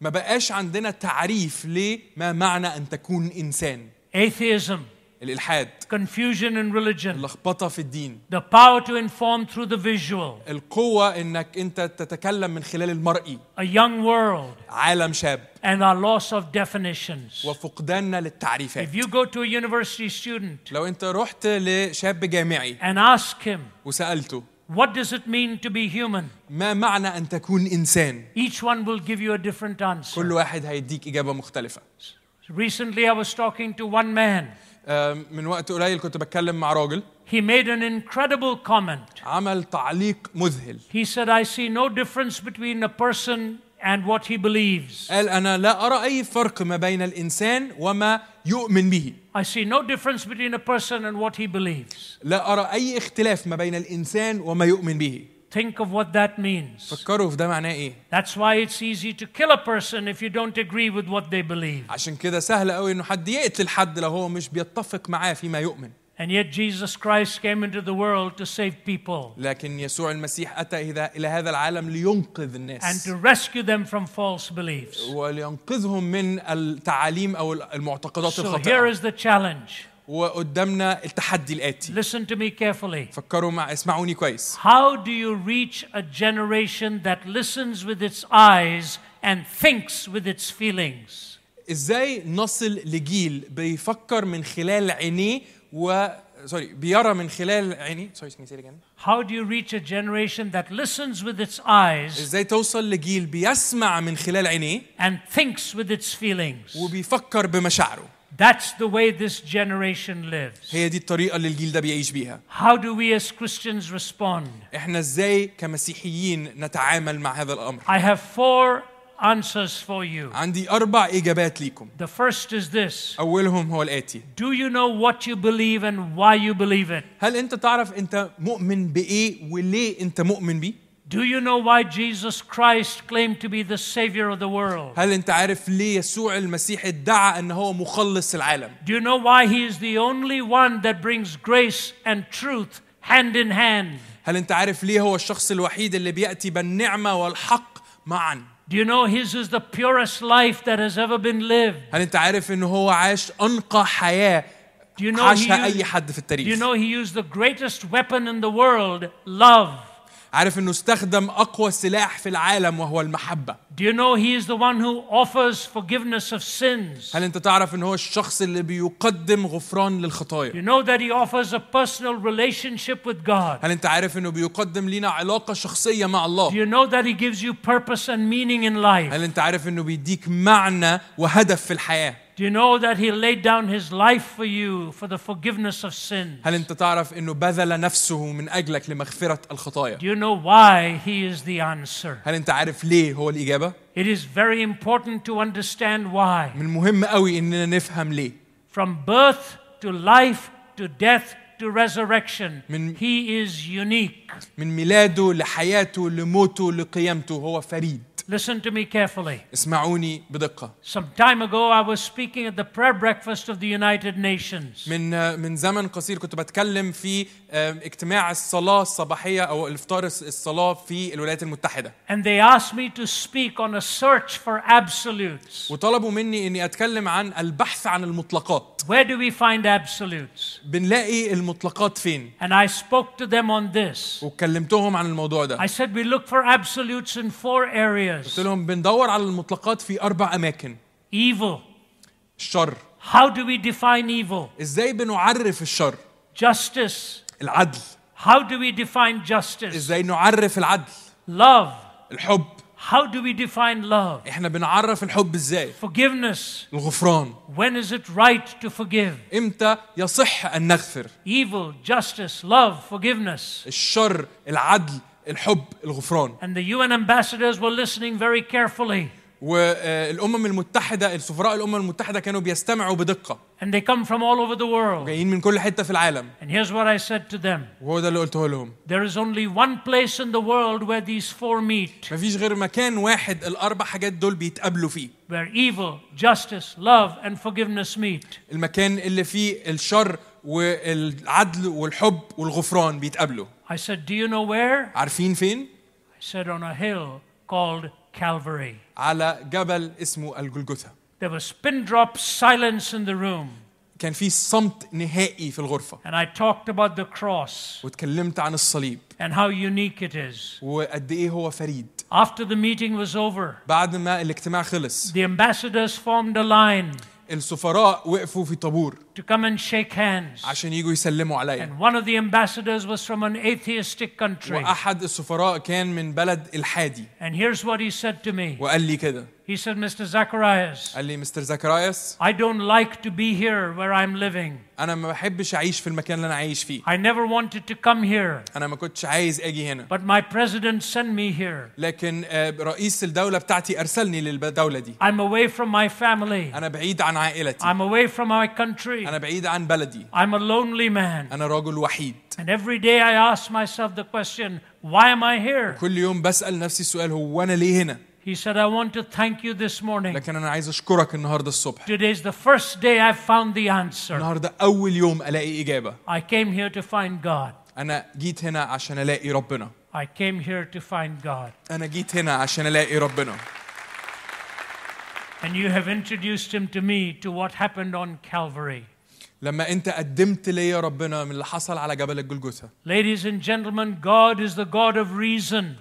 Speaker 2: ما بقاش عندنا تعريف لما معنى ان تكون انسان
Speaker 1: Atheism,
Speaker 2: الالحاد
Speaker 1: confusion in religion,
Speaker 2: اللخبطه في الدين
Speaker 1: the power to inform through the visual,
Speaker 2: القوه انك انت تتكلم من خلال المرئي
Speaker 1: a young world,
Speaker 2: عالم شاب
Speaker 1: and our loss of definitions.
Speaker 2: وفقداننا للتعريفات
Speaker 1: If you go to a university student
Speaker 2: لو انت رحت لشاب جامعي
Speaker 1: and ask him,
Speaker 2: وسالته
Speaker 1: what does it mean to be human?
Speaker 2: ما معنى ان تكون انسان
Speaker 1: Each one will give you a different answer.
Speaker 2: كل واحد هيديك اجابه مختلفه
Speaker 1: Recently, I was talking to one man.
Speaker 2: آم، آه، من وقت قليل كنت بتكلم مع راجل
Speaker 1: He made an incredible comment.
Speaker 2: عمل تعليق مذهل
Speaker 1: He said, I see no difference between a person and what he believes.
Speaker 2: قال انا لا ارى اي فرق ما بين الانسان وما يؤمن به
Speaker 1: I see no difference between a person and what he believes.
Speaker 2: لا ارى اي اختلاف ما بين الانسان وما يؤمن به
Speaker 1: Think of what that means.
Speaker 2: فكروا في ده معناه ايه
Speaker 1: That's why it's easy to kill a person if you don't agree with what they believe.
Speaker 2: عشان كده سهل قوي انه حد يقتل حد لو هو مش بيتفق معاه فيما يؤمن
Speaker 1: And yet, Jesus Christ came into the world to save people
Speaker 2: لكن يسوع المسيح اتى إذا- الى هذا العالم لينقذ
Speaker 1: and
Speaker 2: الناس
Speaker 1: to rescue them from false beliefs.
Speaker 2: ولينقذهم من التعاليم او المعتقدات
Speaker 1: So, here
Speaker 2: الخاطئه
Speaker 1: is the challenge.
Speaker 2: وقدامنا التحدي الاتي
Speaker 1: Listen to me carefully.
Speaker 2: فكروا مع اسمعوني كويس
Speaker 1: How do you reach a generation that listens with its eyes and thinks with its feelings?
Speaker 2: ازاي نصل لجيل بيفكر من خلال عينيه و سوري بيرى من خلال عينيه سوري can you say it again?
Speaker 1: How do you reach a generation that listens with its eyes
Speaker 2: ازاي توصل لجيل بيسمع من خلال عينيه
Speaker 1: and thinks with its feelings?
Speaker 2: وبيفكر بمشاعره
Speaker 1: That's the way this generation lives.
Speaker 2: هي دي الطريقه اللي الجيل ده بيعيش بيها
Speaker 1: How do we as Christians respond?
Speaker 2: احنا ازاي كمسيحيين نتعامل مع هذا الامر
Speaker 1: I have four answers for you.
Speaker 2: عندي اربع اجابات ليكم
Speaker 1: The first is this
Speaker 2: اولهم هو الاتي
Speaker 1: Do you know what you believe and why you believe it?
Speaker 2: هل انت تعرف انت مؤمن بايه وليه انت مؤمن بيه
Speaker 1: Do you know why Jesus Christ claimed to be the Savior of the world?
Speaker 2: هل انت عارف ليه يسوع المسيح ادعى ان هو مخلص العالم
Speaker 1: Do you know why he is the only one that brings grace and truth hand in hand?
Speaker 2: هل انت عارف ليه هو الشخص الوحيد اللي بياتي بالنعمه والحق معا
Speaker 1: Do you know his is the purest life that has ever been lived?
Speaker 2: هل انت عارف ان هو عاش انقى حياه
Speaker 1: Do you know he
Speaker 2: عاشها
Speaker 1: used,
Speaker 2: اي حد في
Speaker 1: do you
Speaker 2: التاريخ
Speaker 1: know he used the greatest weapon in the world, love?
Speaker 2: عارف انه استخدم اقوى سلاح في العالم وهو المحبه
Speaker 1: Do you know he is the one who offers forgiveness of sins?
Speaker 2: هل انت تعرف ان هو الشخص اللي بيقدم غفران
Speaker 1: Do
Speaker 2: للخطايا
Speaker 1: you know that he offers a personal relationship with God?
Speaker 2: هل انت عارف انه بيقدم لينا علاقه شخصيه مع
Speaker 1: Do
Speaker 2: الله
Speaker 1: you know that he gives you purpose and meaning in life?
Speaker 2: هل انت عارف انه بيديك معنى وهدف في الحياه
Speaker 1: Do you know that he laid down his life for you for the forgiveness of sins?
Speaker 2: هل انت تعرف انه بذل نفسه من اجلك لمغفره الخطايا
Speaker 1: Do you know why he is the answer?
Speaker 2: هل انت عارف ليه هو الاجابه
Speaker 1: It is very important to understand why.
Speaker 2: من المهم قوي اننا نفهم ليه
Speaker 1: From birth to life to death to resurrection,
Speaker 2: من-
Speaker 1: he is unique.
Speaker 2: من ميلاده لحياته لموته لقيامته هو فريد
Speaker 1: Listen to me carefully.
Speaker 2: اسمعوني بدقه
Speaker 1: Some time ago, I was speaking at the prayer breakfast of the United Nations.
Speaker 2: من من زمن قصير كنت بتكلم في آه، اجتماع الصلاه الصباحيه او الافطار الص- الصلاه في الولايات المتحده
Speaker 1: And they asked me to speak on a search for absolutes.
Speaker 2: وطلبوا مني اني اتكلم عن البحث عن المطلقات
Speaker 1: Where do we find absolutes?
Speaker 2: بنلاقي المطلقات فين
Speaker 1: And I spoke to them on this.
Speaker 2: وكلمتهم عن الموضوع ده
Speaker 1: I said we look for absolutes in four areas
Speaker 2: قلت لهم بندور على المطلقات في اربع اماكن
Speaker 1: evil.
Speaker 2: الشر
Speaker 1: How do we define evil?
Speaker 2: ازاي بنعرف الشر
Speaker 1: Justice.
Speaker 2: العدل
Speaker 1: How do we define justice?
Speaker 2: ازاي نعرف العدل
Speaker 1: Love.
Speaker 2: الحب
Speaker 1: How do we define love?
Speaker 2: احنا بنعرف الحب ازاي
Speaker 1: Forgiveness.
Speaker 2: الغفران
Speaker 1: When is it right to forgive?
Speaker 2: امتى يصح ان نغفر
Speaker 1: Evil, justice, love, forgiveness.
Speaker 2: الشر العدل الحب الغفران
Speaker 1: And the UN ambassadors were listening very carefully.
Speaker 2: والامم المتحده السفراء الامم المتحده كانوا بيستمعوا بدقه
Speaker 1: And they come from all over the world.
Speaker 2: جايين من كل حته في العالم
Speaker 1: And here's what I said to them
Speaker 2: وهو ده اللي قلته لهم
Speaker 1: there is only one place in the world where these four meet,
Speaker 2: مفيش غير مكان واحد الاربع حاجات دول بيتقابلوا فيه
Speaker 1: where evil, justice, love, and forgiveness meet.
Speaker 2: المكان اللي فيه الشر والعدل والحب والغفران بيتقابلوا
Speaker 1: I said, Do you know where?
Speaker 2: عارفين فين
Speaker 1: I said, On a hill called Calvary.
Speaker 2: على جبل اسمه الجلجثه
Speaker 1: There was pin drop silence in the room.
Speaker 2: كان في صمت نهائي في الغرفه
Speaker 1: And I talked about the cross
Speaker 2: واتكلمت عن الصليب
Speaker 1: and how unique it is.
Speaker 2: وقد ايه هو فريد
Speaker 1: After the meeting was over,
Speaker 2: بعد ما الاجتماع خلص
Speaker 1: the ambassadors formed a line
Speaker 2: السفراء وقفوا في طابور
Speaker 1: to come and shake hands.
Speaker 2: عشان يجوا يسلموا عليا
Speaker 1: And one of the ambassadors was from an atheistic country.
Speaker 2: واحد السفراء كان من بلد الحادي
Speaker 1: And here's what he said to me
Speaker 2: وقال لي كده
Speaker 1: He said, Mr. Zacharias,
Speaker 2: قال لي مستر زكرايس
Speaker 1: I don't like to be here where I'm living.
Speaker 2: انا ما بحبش اعيش في المكان اللي انا عايش فيه
Speaker 1: I never wanted to come here,
Speaker 2: انا ما كنتش عايز اجي هنا
Speaker 1: but my president sent me here.
Speaker 2: لكن آه، رئيس الدوله بتاعتي ارسلني للدوله دي
Speaker 1: I'm away from my family.
Speaker 2: انا بعيد عن عائلتي
Speaker 1: I'm away from my country.
Speaker 2: انا بعيد عن بلدي
Speaker 1: I'm a lonely man.
Speaker 2: انا راجل وحيد
Speaker 1: And every day I ask myself the question, why am I here?
Speaker 2: كل يوم بسال نفسي السؤال هو انا ليه هنا
Speaker 1: He said, I want to thank you this morning.
Speaker 2: لكن انا عايز اشكرك النهارده الصبح
Speaker 1: Today's the first day I've found the answer.
Speaker 2: النهارده اول يوم الاقي اجابه
Speaker 1: I came here to find God.
Speaker 2: انا جيت هنا عشان الاقي ربنا
Speaker 1: I came here to find God.
Speaker 2: انا جيت هنا عشان الاقي ربنا
Speaker 1: And you have introduced him to me to what happened on Calvary.
Speaker 2: لما انت قدمت ليا ربنا من اللي حصل على جبل الجلجثه
Speaker 1: Ladies and gentlemen, God is the God of reason.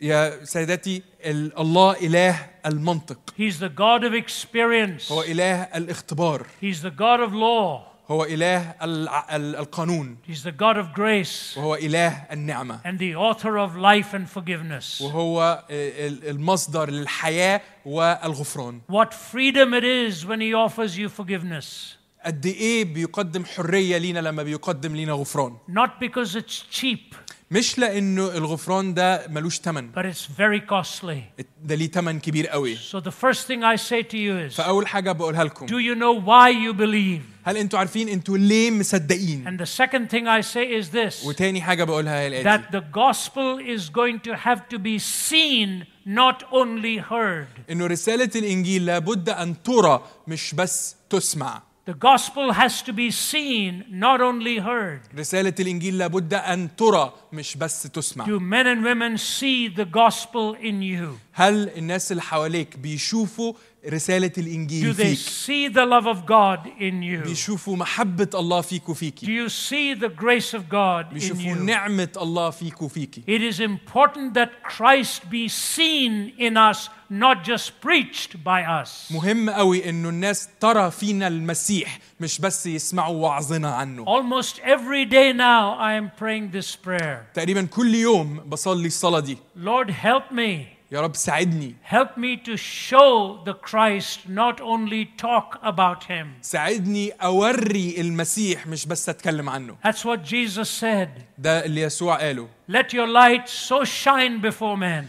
Speaker 2: يا سيداتي ال- الله اله المنطق
Speaker 1: He's the God of experience.
Speaker 2: هو اله الاختبار
Speaker 1: He's the God of law.
Speaker 2: هو اله الع- ال- القانون
Speaker 1: He's the God of grace
Speaker 2: وهو اله النعمه
Speaker 1: and the author of life and forgiveness.
Speaker 2: Oh. وهو ال- المصدر للحياه والغفران
Speaker 1: What freedom it is when He offers you forgiveness.
Speaker 2: قد ايه بيقدم حريه لينا لما بيقدم لينا غفران
Speaker 1: Not because it's cheap,
Speaker 2: مش لانه الغفران ده ملوش تمن
Speaker 1: but it's very costly.
Speaker 2: ده ليه تمن كبير قوي
Speaker 1: So the first thing I say to you is
Speaker 2: فاول حاجه بقولها لكم
Speaker 1: Do you know why you believe?
Speaker 2: هل انتوا عارفين انتوا ليه مصدقين
Speaker 1: And the second thing I say is this
Speaker 2: وتاني حاجه بقولها هي الاتي
Speaker 1: that the gospel is going to have to be seen, not only heard.
Speaker 2: انه رساله الانجيل لابد ان ترى مش بس تسمع
Speaker 1: The gospel has to be seen, not only heard.
Speaker 2: رساله الانجيل لابد ان ترى مش بس تسمع
Speaker 1: Do men and women see the gospel in you?
Speaker 2: هل الناس اللي حواليك بيشوفوا رساله
Speaker 1: Do
Speaker 2: الانجيل
Speaker 1: they
Speaker 2: فيك
Speaker 1: see the love of God in you?
Speaker 2: بيشوفوا محبه الله فيك
Speaker 1: Do
Speaker 2: وفيكي
Speaker 1: you see the grace of God in
Speaker 2: بيشوفوا
Speaker 1: you?
Speaker 2: نعمه الله فيك وفيكي
Speaker 1: It is important that Christ be seen in us, not just preached by us.
Speaker 2: مهم قوي انه الناس ترى فينا المسيح مش بس يسمعوا وعظنا عنه
Speaker 1: Almost every day now I am praying this prayer.
Speaker 2: تقريبا كل يوم بصلي الصلاه دي
Speaker 1: Lord, help me.
Speaker 2: يا رب ساعدني
Speaker 1: Help me to show the Christ, not only talk about him.
Speaker 2: ساعدني اوري المسيح مش بس اتكلم عنه
Speaker 1: That's what Jesus said.
Speaker 2: ده اللي يسوع قاله
Speaker 1: Let your light so shine before men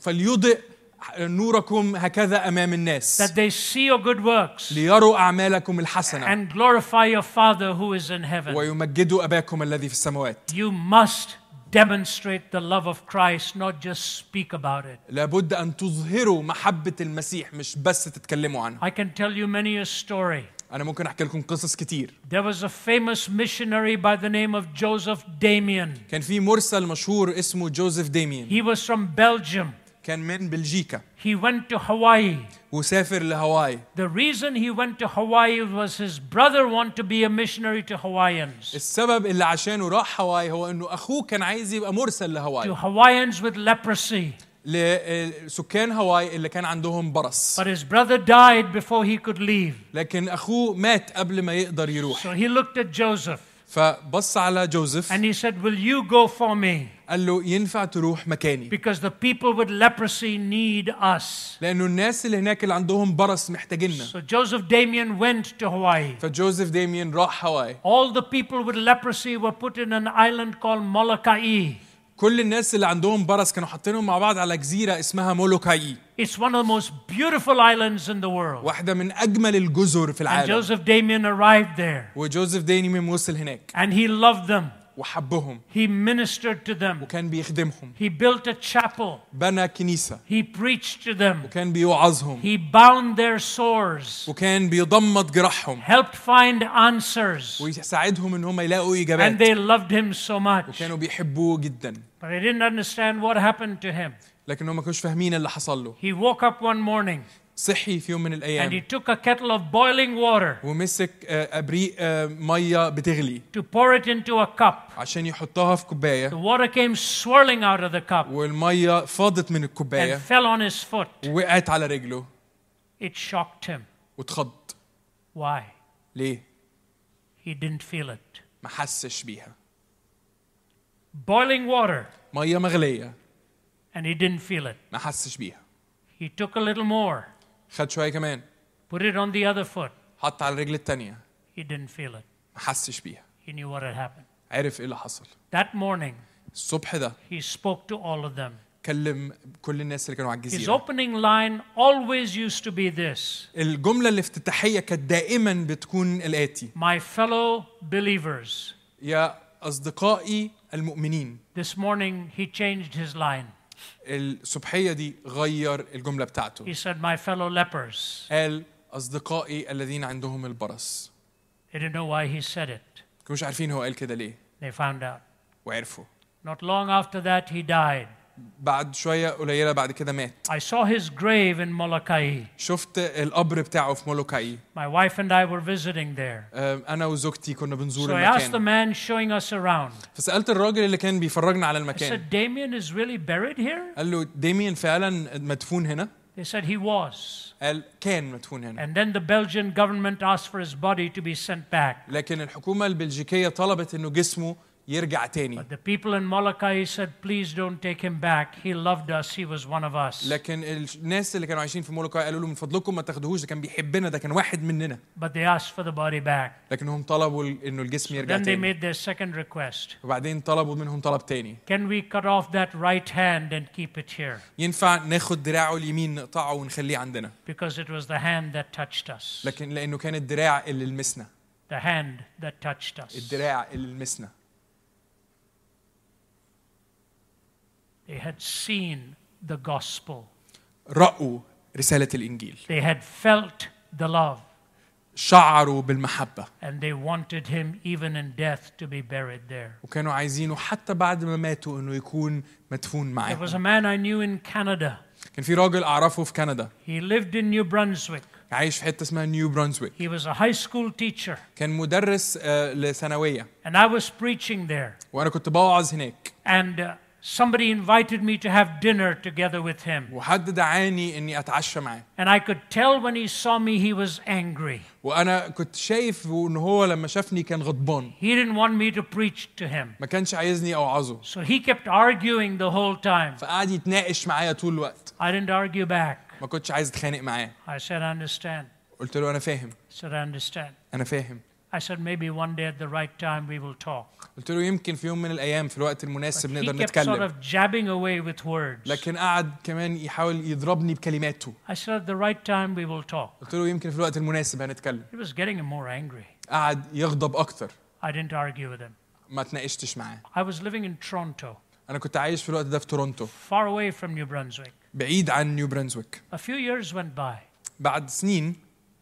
Speaker 2: فليضئ نوركم هكذا امام الناس
Speaker 1: that they see your good works
Speaker 2: ليروا اعمالكم الحسنه
Speaker 1: and glorify your Father who is in heaven.
Speaker 2: ويمجدوا اباكم الذي في السماوات
Speaker 1: You must demonstrate the love of Christ, not just speak about it.
Speaker 2: لابد ان تظهروا محبه المسيح مش بس تتكلموا عنها
Speaker 1: I can tell you many a story.
Speaker 2: انا ممكن احكي لكم قصص كتير
Speaker 1: There was a famous missionary by the name of Joseph Damien.
Speaker 2: كان في مرسل مشهور اسمه جوزيف ديميان
Speaker 1: He was from Belgium.
Speaker 2: كان من بلجيكا
Speaker 1: He went to Hawaii.
Speaker 2: وسافر لهاواي
Speaker 1: The reason he went to Hawaii was his brother wanted to be a missionary to Hawaiians,
Speaker 2: السبب اللي عشانه راح هاواي هو انه اخوه كان عايز يبقى مرسل
Speaker 1: to
Speaker 2: لهاواي
Speaker 1: Hawaiians with leprosy.
Speaker 2: لسكان آه، هاواي اللي كان عندهم برص
Speaker 1: But his brother died before he could leave.
Speaker 2: لكن اخوه مات قبل ما يقدر يروح
Speaker 1: So he looked at Joseph
Speaker 2: فبص على جوزيف
Speaker 1: and he said, Will you go for me?
Speaker 2: قال له ينفع تروح مكاني
Speaker 1: Because the people with leprosy need us.
Speaker 2: لانه الناس اللي هناك اللي عندهم برص محتاجيننا
Speaker 1: So Joseph Damien went to Hawaii.
Speaker 2: فجوزيف ديميان راح هاواي
Speaker 1: All the people with leprosy were put in an island called Molokai.
Speaker 2: كل الناس اللي عندهم برص كانوا حاطينهم مع بعض على جزيره اسمها مولوكاي
Speaker 1: It's one of the most beautiful islands in the world.
Speaker 2: واحده من اجمل الجزر في
Speaker 1: And
Speaker 2: العالم
Speaker 1: Joseph Damien arrived there
Speaker 2: وجوزيف ديميان وصل هناك
Speaker 1: and he loved them.
Speaker 2: وحبهم
Speaker 1: He ministered to them.
Speaker 2: وكان بيخدمهم
Speaker 1: He built a chapel.
Speaker 2: بنى كنيسة
Speaker 1: He preached to them.
Speaker 2: وكان بيوعظهم
Speaker 1: He bound their sores,
Speaker 2: وكان بيضمد جراحهم
Speaker 1: helped find answers.
Speaker 2: ويساعدهم ان هم يلاقوا
Speaker 1: And
Speaker 2: اجابات
Speaker 1: they loved him so much.
Speaker 2: وكانوا بيحبوه جدا
Speaker 1: But they didn't understand what happened to him.
Speaker 2: لكن هم ما كانوش فاهمين اللي حصل له
Speaker 1: He woke up one morning
Speaker 2: صحي في يوم من
Speaker 1: And he
Speaker 2: الايام
Speaker 1: took a kettle of boiling water
Speaker 2: ومسك آه، ابريق آه، ميه بتغلي
Speaker 1: to pour it into a cup.
Speaker 2: عشان يحطها في
Speaker 1: The
Speaker 2: كوبايه
Speaker 1: water came swirling out of the cup
Speaker 2: والميه فاضت من
Speaker 1: and
Speaker 2: الكوبايه
Speaker 1: fell on his foot.
Speaker 2: وقعت على رجله
Speaker 1: It shocked him.
Speaker 2: واتخض
Speaker 1: Why?
Speaker 2: ليه؟
Speaker 1: He didn't feel it.
Speaker 2: ما حسش بيها
Speaker 1: Boiling water,
Speaker 2: ميه مغليه
Speaker 1: and he didn't feel it.
Speaker 2: ما حسش بيها
Speaker 1: He took a little more,
Speaker 2: خد شويه كمان
Speaker 1: put it on the other foot.
Speaker 2: حط على الرجل التانية
Speaker 1: He didn't feel it.
Speaker 2: ما حسش بيها
Speaker 1: He knew what had happened.
Speaker 2: عرف ايه اللي حصل
Speaker 1: That morning,
Speaker 2: الصبح ده
Speaker 1: he spoke to all of them.
Speaker 2: كلم كل الناس اللي كانوا على
Speaker 1: His
Speaker 2: الجزيره
Speaker 1: opening line always used to be this
Speaker 2: الجمله الافتتاحيه كانت دائما بتكون الاتي
Speaker 1: My fellow believers.
Speaker 2: يا اصدقائي المؤمنين
Speaker 1: This morning, he changed his line.
Speaker 2: الصبحيه دي غير الجمله بتاعته
Speaker 1: He said, My fellow lepers.
Speaker 2: قال اصدقائي الذين عندهم البرص
Speaker 1: They didn't know why he said it.
Speaker 2: كانوا مش عارفين هو قال كده ليه
Speaker 1: They found out.
Speaker 2: وعرفوا
Speaker 1: Not long after that, he died.
Speaker 2: بعد شويه قليله بعد كده مات
Speaker 1: I saw his grave in Molokai.
Speaker 2: شفت القبر بتاعه في مولوكاي
Speaker 1: My wife and I were visiting there.
Speaker 2: أم، انا وزوجتي كنا بنزور
Speaker 1: So I asked the
Speaker 2: المكان
Speaker 1: man showing us around.
Speaker 2: فسالت الراجل اللي كان بيفرجنا على
Speaker 1: I
Speaker 2: المكان
Speaker 1: said, Damien is really buried here?
Speaker 2: قال له ديمين فعلا مدفون هنا
Speaker 1: They said he was.
Speaker 2: قال كان مدفون هنا
Speaker 1: And then the Belgian government asked for his body to be sent back.
Speaker 2: لكن الحكومه البلجيكيه طلبت انه جسمه يرجع تاني
Speaker 1: But the people in Molokai said, Please don't take him back. He loved us. He was one of us.
Speaker 2: لكن الناس اللي كانوا عايشين في مولوكاي قالوا له من فضلكم ما تاخدوهوش ده كان بيحبنا ده كان واحد مننا
Speaker 1: But they asked for the body back.
Speaker 2: لكنهم طلبوا ال- انه الجسم يرجع
Speaker 1: Then they
Speaker 2: تاني
Speaker 1: made their second request
Speaker 2: وبعدين طلبوا منهم طلب تاني
Speaker 1: Can we cut off that right hand and keep it here?
Speaker 2: ينفع ناخد دراعه اليمين نقطعه ونخليه عندنا
Speaker 1: Because it was the hand that touched us.
Speaker 2: لكن لانه كان الدراع اللي لمسنا
Speaker 1: The hand that touched us.
Speaker 2: الدراع اللي لمسنا
Speaker 1: They had seen the gospel.
Speaker 2: رأوا رسالة الإنجيل
Speaker 1: They had felt the love
Speaker 2: شعروا بالمحبة
Speaker 1: and they wanted him even in death to be buried there.
Speaker 2: وكانوا عايزينه حتى بعد ما ماتوا انه يكون مدفون
Speaker 1: There
Speaker 2: معاهم
Speaker 1: was a man I knew in Canada.
Speaker 2: كان في راجل اعرفه في كندا
Speaker 1: He lived in New Brunswick.
Speaker 2: عايش في حته اسمها نيو برونزويك
Speaker 1: He was a high school teacher
Speaker 2: كان مدرس آه، لثانويه
Speaker 1: and I was preaching there
Speaker 2: وانا كنت بوعظ هناك
Speaker 1: and uh, somebody invited me to have dinner together with him
Speaker 2: وحد دعاني اني اتعشى معاه
Speaker 1: and I could tell when he saw me he was angry.
Speaker 2: وانا كنت شايف ان هو لما شافني كان غضبان
Speaker 1: He didn't want me to preach to him.
Speaker 2: ما كانش عايزني اوعظه
Speaker 1: So he kept arguing the whole time.
Speaker 2: فقعد يتناقش معايا طول الوقت
Speaker 1: I didn't argue back.
Speaker 2: ما كنتش عايز اتخانق معاه
Speaker 1: I said, I understand.
Speaker 2: قلت له انا فاهم
Speaker 1: I said, I understand.
Speaker 2: انا فاهم
Speaker 1: I said, maybe one day at the right time we will talk.
Speaker 2: قلت له يمكن في يوم من الايام في الوقت المناسب
Speaker 1: He
Speaker 2: نقدر
Speaker 1: kept sort
Speaker 2: نتكلم
Speaker 1: of jabbing away with words.
Speaker 2: لكن قعد كمان يحاول يضربني بكلماته
Speaker 1: I said, at the right time we will talk.
Speaker 2: قلت له يمكن في الوقت المناسب هنتكلم
Speaker 1: He was getting more angry.
Speaker 2: قعد يغضب اكتر
Speaker 1: I didn't argue with him.
Speaker 2: ما اتناقشتش معاه
Speaker 1: I was living in Toronto,
Speaker 2: انا كنت عايش في الوقت ده في تورونتو
Speaker 1: far away from New Brunswick.
Speaker 2: بعيد عن نيو برنسويك
Speaker 1: A few years went by,
Speaker 2: بعد سنين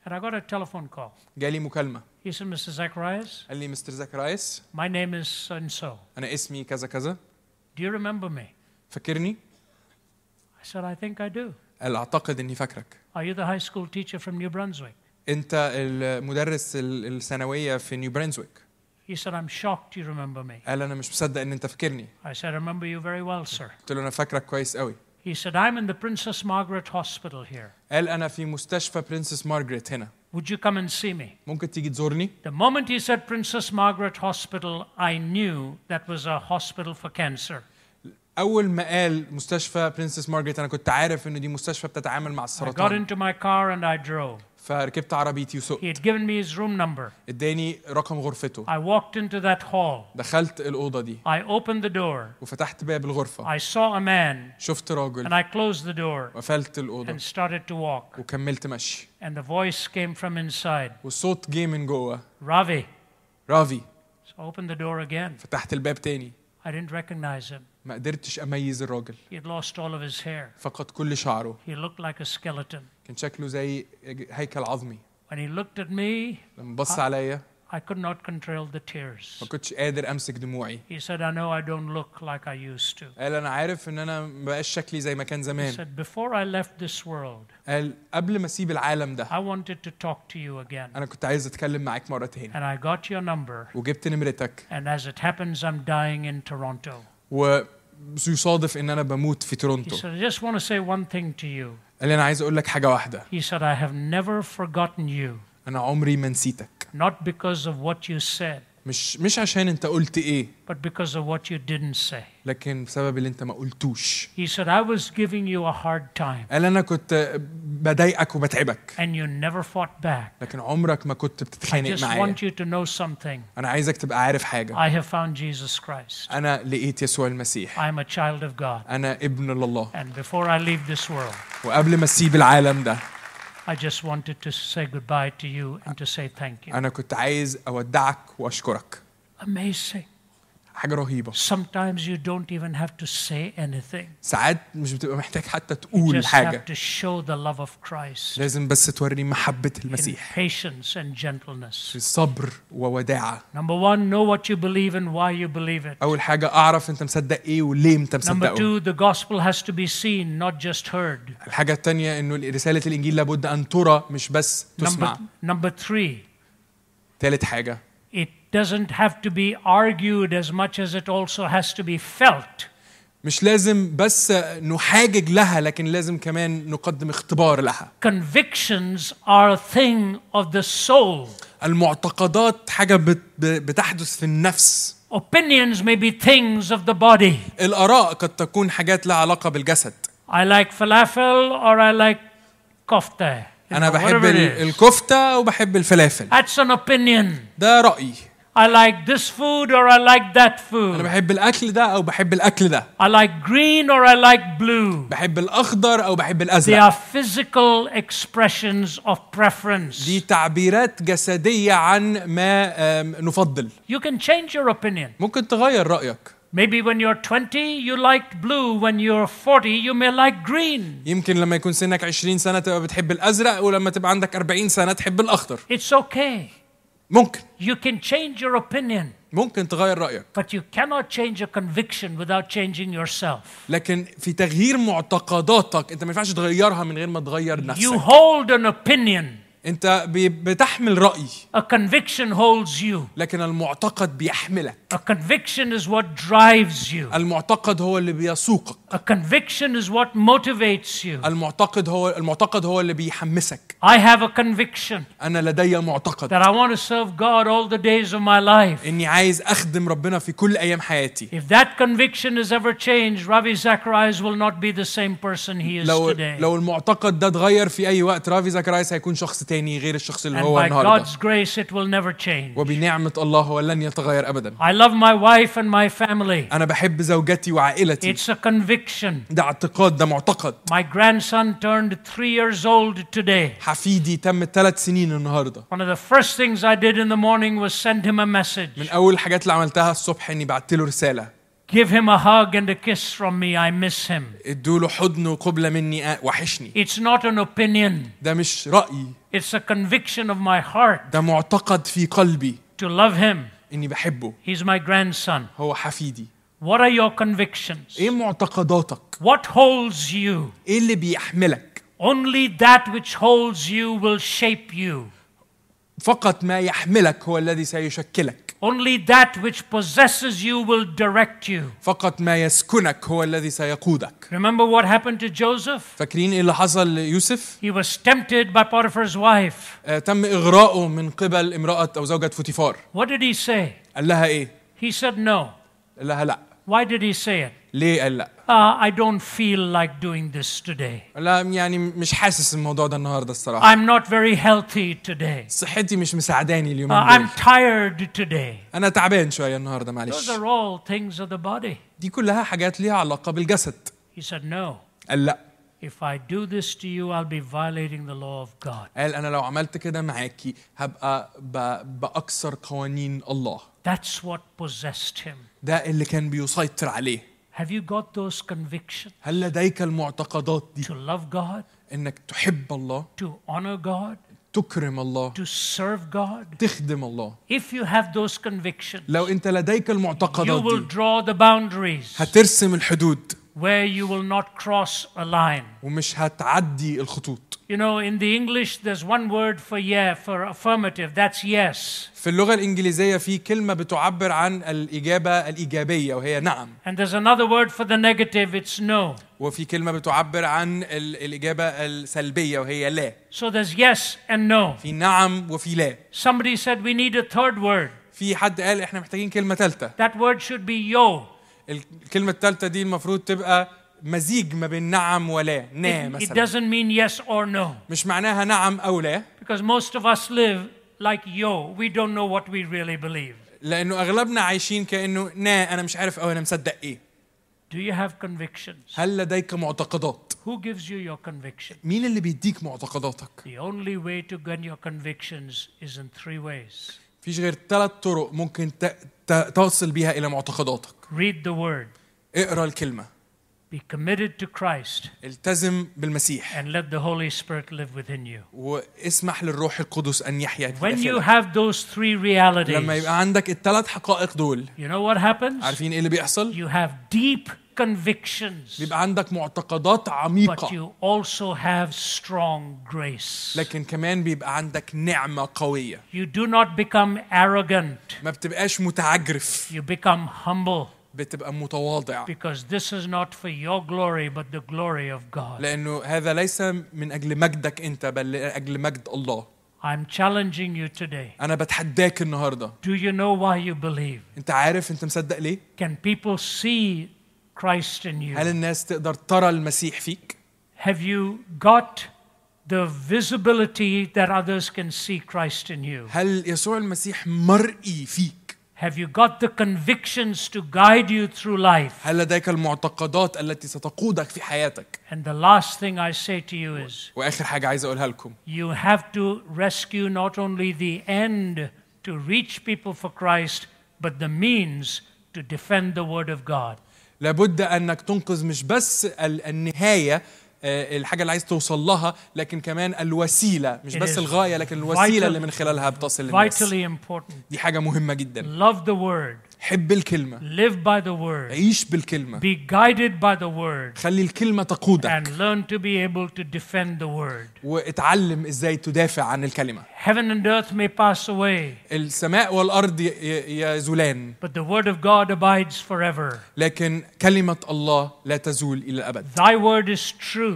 Speaker 1: and I got a telephone call.
Speaker 2: جالي مكالمه
Speaker 1: He said, Mr. Zacharias,
Speaker 2: قال لي مستر زكرايس
Speaker 1: my name is so and so.
Speaker 2: انا اسمي كذا كذا
Speaker 1: Do you remember me?
Speaker 2: فاكرني
Speaker 1: I said, I think I do.
Speaker 2: قال اعتقد اني فاكرك
Speaker 1: Are you the high school teacher from New Brunswick?
Speaker 2: انت المدرس ال- الثانويه في نيو برنسويك
Speaker 1: He said, I'm shocked you remember me.
Speaker 2: قال انا مش مصدق ان انت فاكرني
Speaker 1: I said, I remember you very well, sir.
Speaker 2: قلت له انا فاكرك كويس قوي
Speaker 1: He said, I'm in the Princess Margaret Hospital here.
Speaker 2: قال انا في مستشفى برنسس مارجريت هنا
Speaker 1: Would you come and see me?
Speaker 2: ممكن تيجي تزورني
Speaker 1: The moment he said Princess Margaret Hospital, I knew that was a hospital for cancer.
Speaker 2: اول ما قال مستشفى برنسس مارجريت انا كنت عارف ان دي مستشفى بتتعامل مع
Speaker 1: I got
Speaker 2: السرطان
Speaker 1: into my car and I drove.
Speaker 2: فركبت عربيتي وسقت
Speaker 1: He had given me his room number.
Speaker 2: اداني رقم غرفته
Speaker 1: I walked into that hall.
Speaker 2: دخلت الاوضه دي
Speaker 1: I opened the door.
Speaker 2: وفتحت باب الغرفه
Speaker 1: I saw a man
Speaker 2: شفت راجل
Speaker 1: and I closed the door
Speaker 2: وقفلت الاوضه
Speaker 1: and started to walk.
Speaker 2: وكملت مشي
Speaker 1: And the voice came from inside
Speaker 2: والصوت جه من جوه
Speaker 1: Ravi.
Speaker 2: رافي
Speaker 1: So I opened the door again.
Speaker 2: فتحت الباب تاني
Speaker 1: I didn't recognize him.
Speaker 2: ما قدرتش اميز الراجل
Speaker 1: He had lost all of his hair.
Speaker 2: فقد كل شعره
Speaker 1: He looked like a skeleton.
Speaker 2: كان شكله زي هيكل عظمي
Speaker 1: When he looked at me,
Speaker 2: لما بص عليا
Speaker 1: I could not control the tears.
Speaker 2: ما كنتش قادر امسك دموعي
Speaker 1: He said, I know I don't look like I used to.
Speaker 2: قال انا عارف ان انا ما بقاش شكلي زي ما كان
Speaker 1: He
Speaker 2: زمان
Speaker 1: said, Before I left this world,
Speaker 2: قال قبل ما اسيب العالم ده
Speaker 1: I wanted to talk to you again.
Speaker 2: انا كنت عايز اتكلم معاك مره تاني
Speaker 1: And I got your number.
Speaker 2: وجبت نمرتك
Speaker 1: And as it happens, I'm dying in Toronto.
Speaker 2: ويصادف ان انا بموت في
Speaker 1: He
Speaker 2: تورونتو
Speaker 1: said, I just want to say one thing to you.
Speaker 2: قال لي انا عايز اقول لك حاجه واحده
Speaker 1: He said, I have never forgotten you,
Speaker 2: انا عمري ما نسيتك
Speaker 1: not because of what you said,
Speaker 2: مش مش عشان انت قلت ايه
Speaker 1: but because of what you didn't say.
Speaker 2: لكن بسبب اللي انت ما قلتوش
Speaker 1: He said, I was giving you a hard time,
Speaker 2: قال انا كنت بضايقك وبتعبك
Speaker 1: and you never fought back.
Speaker 2: لكن عمرك ما كنت
Speaker 1: I
Speaker 2: بتتخانق
Speaker 1: just
Speaker 2: معايا
Speaker 1: want you to know something.
Speaker 2: انا عايزك تبقى عارف حاجه
Speaker 1: I have found Jesus Christ.
Speaker 2: انا لقيت يسوع المسيح
Speaker 1: I am a child of God.
Speaker 2: انا ابن لله
Speaker 1: And before I leave this world,
Speaker 2: وقبل ما اسيب العالم ده
Speaker 1: I just wanted to say goodbye to you and to say thank you.
Speaker 2: انا كنت عايز اودعك واشكرك
Speaker 1: Amazing.
Speaker 2: حاجه رهيبه
Speaker 1: Sometimes you don't even have to say anything.
Speaker 2: ساعات مش بتبقى محتاج حتى
Speaker 1: You
Speaker 2: تقول
Speaker 1: just have
Speaker 2: حاجه
Speaker 1: to show the love of Christ
Speaker 2: لازم بس توري محبه
Speaker 1: in
Speaker 2: المسيح
Speaker 1: patience and gentleness.
Speaker 2: في صبر ووداعه
Speaker 1: Number one, know what you believe and why you believe it.
Speaker 2: اول حاجه اعرف انت مصدق ايه وليه انت
Speaker 1: Number
Speaker 2: مصدقه
Speaker 1: two, the gospel has to be seen, not just heard.
Speaker 2: الحاجه الثانيه انه رساله الانجيل لابد ان ترى مش بس تسمع
Speaker 1: Number, number three,
Speaker 2: ثالث حاجه
Speaker 1: it doesn't have to be argued as much as it also has to be felt.
Speaker 2: مش لازم بس نحاجج لها لكن لازم كمان نقدم اختبار لها
Speaker 1: Convictions are a thing of the soul.
Speaker 2: المعتقدات حاجة بت- ب- بتحدث في النفس
Speaker 1: Opinions may be things of the body.
Speaker 2: الآراء قد تكون حاجات لها علاقة بالجسد
Speaker 1: I like falafel or I like kofta. You
Speaker 2: أنا
Speaker 1: know,
Speaker 2: بحب
Speaker 1: whatever it
Speaker 2: ال-
Speaker 1: is.
Speaker 2: الكفتة وبحب الفلافل
Speaker 1: That's an opinion.
Speaker 2: ده رأيي
Speaker 1: I like this food or I like that
Speaker 2: أنا
Speaker 1: food.
Speaker 2: بحب الأكل ده أو بحب الأكل ده
Speaker 1: I like green or I like blue.
Speaker 2: بحب الأخضر أو بحب
Speaker 1: They
Speaker 2: الأزرق
Speaker 1: are physical expressions of
Speaker 2: دي
Speaker 1: preference.
Speaker 2: تعبيرات جسدية عن ما آم، نفضل
Speaker 1: You can change your opinion.
Speaker 2: ممكن تغير رأيك
Speaker 1: Maybe when you're 20, you liked blue. When you're 40, you may like green.
Speaker 2: يمكن لما يكون سنك 20 سنة تبقى بتحب الأزرق ولما تبقى عندك 40 سنة تحب الأخضر
Speaker 1: It's okay.
Speaker 2: ممكن
Speaker 1: You can change your opinion,
Speaker 2: ممكن تغير رأيك
Speaker 1: but you cannot change a conviction without changing yourself.
Speaker 2: لكن في تغيير معتقداتك انت ما ينفعش تغيرها من غير ما تغير
Speaker 1: You
Speaker 2: نفسك
Speaker 1: hold an opinion,
Speaker 2: انت بي- بتحمل رأي
Speaker 1: a conviction holds you.
Speaker 2: لكن المعتقد بيحملك
Speaker 1: A conviction is what drives you.
Speaker 2: المعتقد هو اللي بيسوقك
Speaker 1: A conviction is what motivates you.
Speaker 2: المعتقد هو المعتقد هو اللي بيحمسك
Speaker 1: I have a conviction
Speaker 2: انا لدي معتقد
Speaker 1: that I want to serve God all the days of my life.
Speaker 2: اني عايز اخدم ربنا في كل ايام حياتي
Speaker 1: If that conviction is ever changed, Ravi Zacharias will not be the same person he is
Speaker 2: لو
Speaker 1: today.
Speaker 2: لو المعتقد ده اتغير في اي وقت رافي زكرايس هيكون شخص تاني غير الشخص اللي
Speaker 1: and
Speaker 2: هو
Speaker 1: by
Speaker 2: النهارده
Speaker 1: God's grace, it will never change.
Speaker 2: وبنعمه الله هو لن يتغير ابدا
Speaker 1: I love my wife and my family.
Speaker 2: انا بحب زوجتي وعائلتي
Speaker 1: It's a conviction.
Speaker 2: ده اعتقاد ده معتقد
Speaker 1: My grandson turned three years old today.
Speaker 2: حفيدي تم ثلاث سنين النهارده
Speaker 1: One of the first things I did in the morning was send him a message.
Speaker 2: من اول الحاجات اللي عملتها الصبح اني بعت له رساله
Speaker 1: Give him a hug and a kiss from me. I miss him.
Speaker 2: ادوا له حضن وقبله مني أ- وحشني
Speaker 1: It's not an opinion,
Speaker 2: ده مش رايي
Speaker 1: it's a conviction of my heart
Speaker 2: ده معتقد في قلبي
Speaker 1: to love him.
Speaker 2: اني بحبه
Speaker 1: He's my grandson.
Speaker 2: هو حفيدي
Speaker 1: What are your convictions?
Speaker 2: ايه معتقداتك
Speaker 1: What holds you?
Speaker 2: ايه اللي بيحملك
Speaker 1: Only that which holds you will shape you.
Speaker 2: فقط ما يحملك هو الذي سيشكلك
Speaker 1: Only that which possesses you will direct you.
Speaker 2: فقط ما يسكنك هو الذي سيقودك
Speaker 1: Remember what happened to Joseph?
Speaker 2: فاكرين ايه اللي حصل ليوسف
Speaker 1: He was tempted by Potiphar's wife.
Speaker 2: آه تم اغراءه من قبل امراه او زوجة فوتيفار
Speaker 1: What did he say?
Speaker 2: قال لها ايه
Speaker 1: He said no.
Speaker 2: قال لها لا
Speaker 1: Why did he say it?
Speaker 2: ليه قال لا
Speaker 1: "Ah, I don't feel like doing this today.
Speaker 2: قال لها يعني مش حاسس الموضوع ده النهارده الصراحه
Speaker 1: I'm not very healthy today.
Speaker 2: صحتي مش مساعداني
Speaker 1: Uh,
Speaker 2: اليومين دول
Speaker 1: I'm tired today.
Speaker 2: انا تعبان شويه النهارده
Speaker 1: Those
Speaker 2: معلش
Speaker 1: are all things of the body.
Speaker 2: دي كلها حاجات ليها علاقه بالجسد
Speaker 1: He said, No.
Speaker 2: قال لا
Speaker 1: If I do this to you, I'll be violating the law of God.
Speaker 2: قال انا لو عملت كده معاكي هبقى ب- باكسر قوانين الله
Speaker 1: That's what possessed him.
Speaker 2: ده اللي كان بيسيطر عليه
Speaker 1: Have you got those convictions
Speaker 2: هل لديك المعتقدات دي
Speaker 1: to love God,
Speaker 2: انك تحب الله
Speaker 1: to honor God,
Speaker 2: تكرم الله
Speaker 1: to serve God,
Speaker 2: تخدم الله
Speaker 1: if you have those convictions,
Speaker 2: لو انت لديك
Speaker 1: you
Speaker 2: المعتقدات
Speaker 1: will
Speaker 2: دي
Speaker 1: draw the boundaries
Speaker 2: هترسم الحدود
Speaker 1: where you will not cross a line.
Speaker 2: ومش هتعدي الخطوط
Speaker 1: You know, in the English, there's one word for yeah, for affirmative. That's yes.
Speaker 2: في اللغة الإنجليزية في كلمة بتعبر عن الإجابة الإيجابية وهي نعم
Speaker 1: And there's another word for the negative. It's no.
Speaker 2: وفي كلمة بتعبر عن ال- الإجابة السلبية وهي لا
Speaker 1: So there's yes and no.
Speaker 2: في نعم وفي لا
Speaker 1: Somebody said we need a third word.
Speaker 2: في حد قال احنا محتاجين كلمة ثالثة
Speaker 1: That word should be yo.
Speaker 2: الكلمة الثالثة دي المفروض تبقى مزيج ما بين نعم ولا نا
Speaker 1: It, it
Speaker 2: مثلا
Speaker 1: doesn't mean yes or no.
Speaker 2: مش معناها نعم أو لا
Speaker 1: Because most of us live like yo. We don't know what we really believe.
Speaker 2: لأنه أغلبنا عايشين كأنه نا أنا مش عارف أو أنا مصدق إيه
Speaker 1: Do you have convictions?
Speaker 2: هل لديك معتقدات
Speaker 1: Who gives you your conviction?
Speaker 2: مين اللي بيديك معتقداتك
Speaker 1: The only way to gain your convictions is in three ways.
Speaker 2: فيش غير ثلاث طرق ممكن ت... ت... توصل بيها إلى معتقداتك
Speaker 1: Read the word,
Speaker 2: اقرا الكلمة
Speaker 1: be committed to Christ,
Speaker 2: التزم بالمسيح
Speaker 1: and let the Holy Spirit live within you.
Speaker 2: واسمح للروح القدس أن يحيا في
Speaker 1: When you
Speaker 2: داخلك.
Speaker 1: have those three
Speaker 2: لما
Speaker 1: realities,
Speaker 2: يبقى عندك الثلاث حقائق دول
Speaker 1: you know what happens?
Speaker 2: عارفين ايه اللي بيحصل؟
Speaker 1: You have deep convictions,
Speaker 2: بيبقى عندك معتقدات
Speaker 1: but
Speaker 2: عميقة
Speaker 1: you also have strong grace.
Speaker 2: لكن كمان بيبقى عندك نعمة قوية
Speaker 1: You do not become arrogant,
Speaker 2: ما بتبقاش متعجرف
Speaker 1: you become humble
Speaker 2: بتبقى متواضع
Speaker 1: because this is not for your glory but the glory of God.
Speaker 2: لأنه هذا ليس من أجل مجدك أنت بل لأجل مجد الله
Speaker 1: I'm challenging you today.
Speaker 2: أنا بتحداك النهاردة
Speaker 1: Do you know why you believe?
Speaker 2: أنت عارف أنت مصدق ليه؟
Speaker 1: Can people see Christ in
Speaker 2: هل
Speaker 1: you?
Speaker 2: الناس تقدر ترى المسيح فيك؟
Speaker 1: Have you got the visibility that others can see Christ in you?
Speaker 2: هل يسوع المسيح مرئي فيك؟
Speaker 1: Have you got the convictions to guide you through life?
Speaker 2: هل لديك المعتقدات التي ستقودك في حياتك؟
Speaker 1: And the last thing I say to you is
Speaker 2: واخر حاجه عايز اقولها لكم
Speaker 1: you have to rescue not only the end to reach people for Christ, but the means to defend the Word of God.
Speaker 2: لابد انك تنقذ مش بس ال- النهايه آه، الحاجه اللي عايز توصل لها لكن كمان الوسيله مش
Speaker 1: It
Speaker 2: بس
Speaker 1: is
Speaker 2: الغايه لكن الوسيله
Speaker 1: vital-
Speaker 2: اللي من خلالها بتصل للناس
Speaker 1: Vitally important.
Speaker 2: دي حاجه مهمه جدا
Speaker 1: Love the Word,
Speaker 2: حب الكلمه
Speaker 1: live by the Word,
Speaker 2: عيش بالكلمه
Speaker 1: be guided by the Word.
Speaker 2: خلي الكلمه تقودك
Speaker 1: and learn to be able to defend the word.
Speaker 2: واتعلم ازاي تدافع عن الكلمه
Speaker 1: Heaven and earth may pass away,
Speaker 2: السماء والارض ي- ي- يزولان
Speaker 1: but the word of God abides forever.
Speaker 2: لكن كلمه الله لا تزول الى الابد
Speaker 1: Thy word is truth.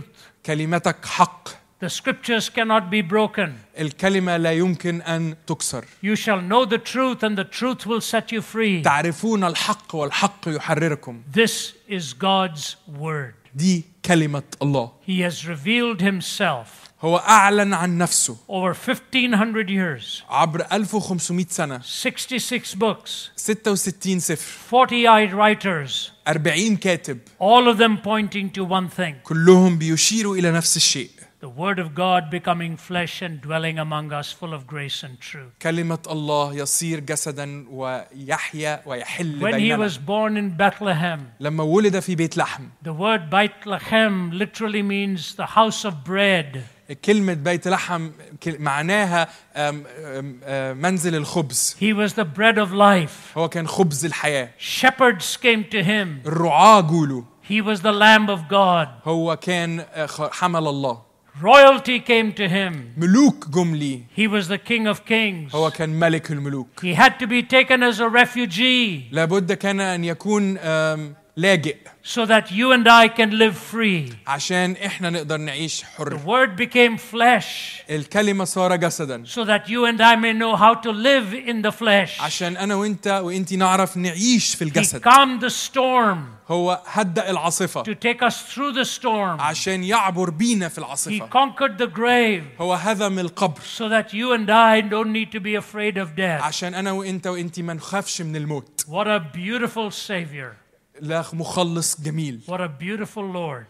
Speaker 2: كلمتك حق
Speaker 1: The scriptures cannot be broken.
Speaker 2: الكلمه لا يمكن ان تكسر
Speaker 1: You shall know the truth, and the truth will set you free.
Speaker 2: تعرفون الحق والحق يحرركم
Speaker 1: This is God's word.
Speaker 2: دي كلمة الله
Speaker 1: He has revealed himself
Speaker 2: هو أعلن عن نفسه
Speaker 1: over 1500 years,
Speaker 2: عبر 1500 سنة
Speaker 1: 66 books,
Speaker 2: 66 سفر
Speaker 1: 40 writers,
Speaker 2: 40 كاتب
Speaker 1: all of them pointing to one thing
Speaker 2: كلهم بيشيروا إلى نفس الشيء
Speaker 1: The Word of God becoming flesh and dwelling among us, full of grace and truth.
Speaker 2: كلمة الله يصير جسدا ويحيا ويحل
Speaker 1: When he
Speaker 2: بيننا
Speaker 1: was born in Bethlehem,
Speaker 2: لما ولد في بيت لحم
Speaker 1: the word Bethlehem literally means the house of bread.
Speaker 2: كلمة بيت لحم كل- معناها أم، أم، أم، منزل الخبز
Speaker 1: He was the bread of life.
Speaker 2: هو كان خبز الحياة
Speaker 1: Shepherds came to him.
Speaker 2: الرعاة جوله
Speaker 1: He was the Lamb of God.
Speaker 2: هو كان آه، خ- حمل الله
Speaker 1: Royalty came to him.
Speaker 2: ملوك جملي
Speaker 1: He was the King of Kings.
Speaker 2: هو كان ملك الملوك
Speaker 1: He had to be taken as a refugee
Speaker 2: لابد كان ان يكون آم، لاجئ
Speaker 1: so that you and I can live free.
Speaker 2: عشان احنا نقدر نعيش
Speaker 1: The
Speaker 2: حر
Speaker 1: Word became flesh
Speaker 2: الكلمه صار جسدا
Speaker 1: so that you and I may know how to live in the flesh.
Speaker 2: عشان انا وانت وانتي نعرف نعيش في
Speaker 1: He
Speaker 2: الجسد
Speaker 1: calmed the storm
Speaker 2: هو هدأ العاصفه
Speaker 1: to take us through the storm.
Speaker 2: عشان يعبر بينا في
Speaker 1: He
Speaker 2: العاصفه
Speaker 1: conquered the grave
Speaker 2: هو هدم القبر
Speaker 1: so that you and I don't need to be afraid of death.
Speaker 2: عشان انا وانت وانتي ما نخافش من الموت
Speaker 1: What a beautiful Savior.
Speaker 2: لا مخلص جميل
Speaker 1: What a beautiful Lord.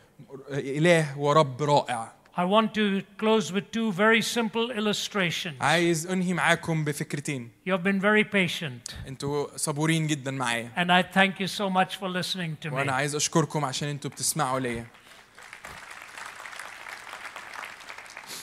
Speaker 2: اله ورب رائع
Speaker 1: I want to close with two very simple illustrations.
Speaker 2: عايز انهي معاكم بفكرتين
Speaker 1: You have been very patient,
Speaker 2: انتوا صبورين جدا معايا
Speaker 1: and I thank you so much for listening to me.
Speaker 2: وانا عايز اشكركم عشان انتوا بتسمعوا ليا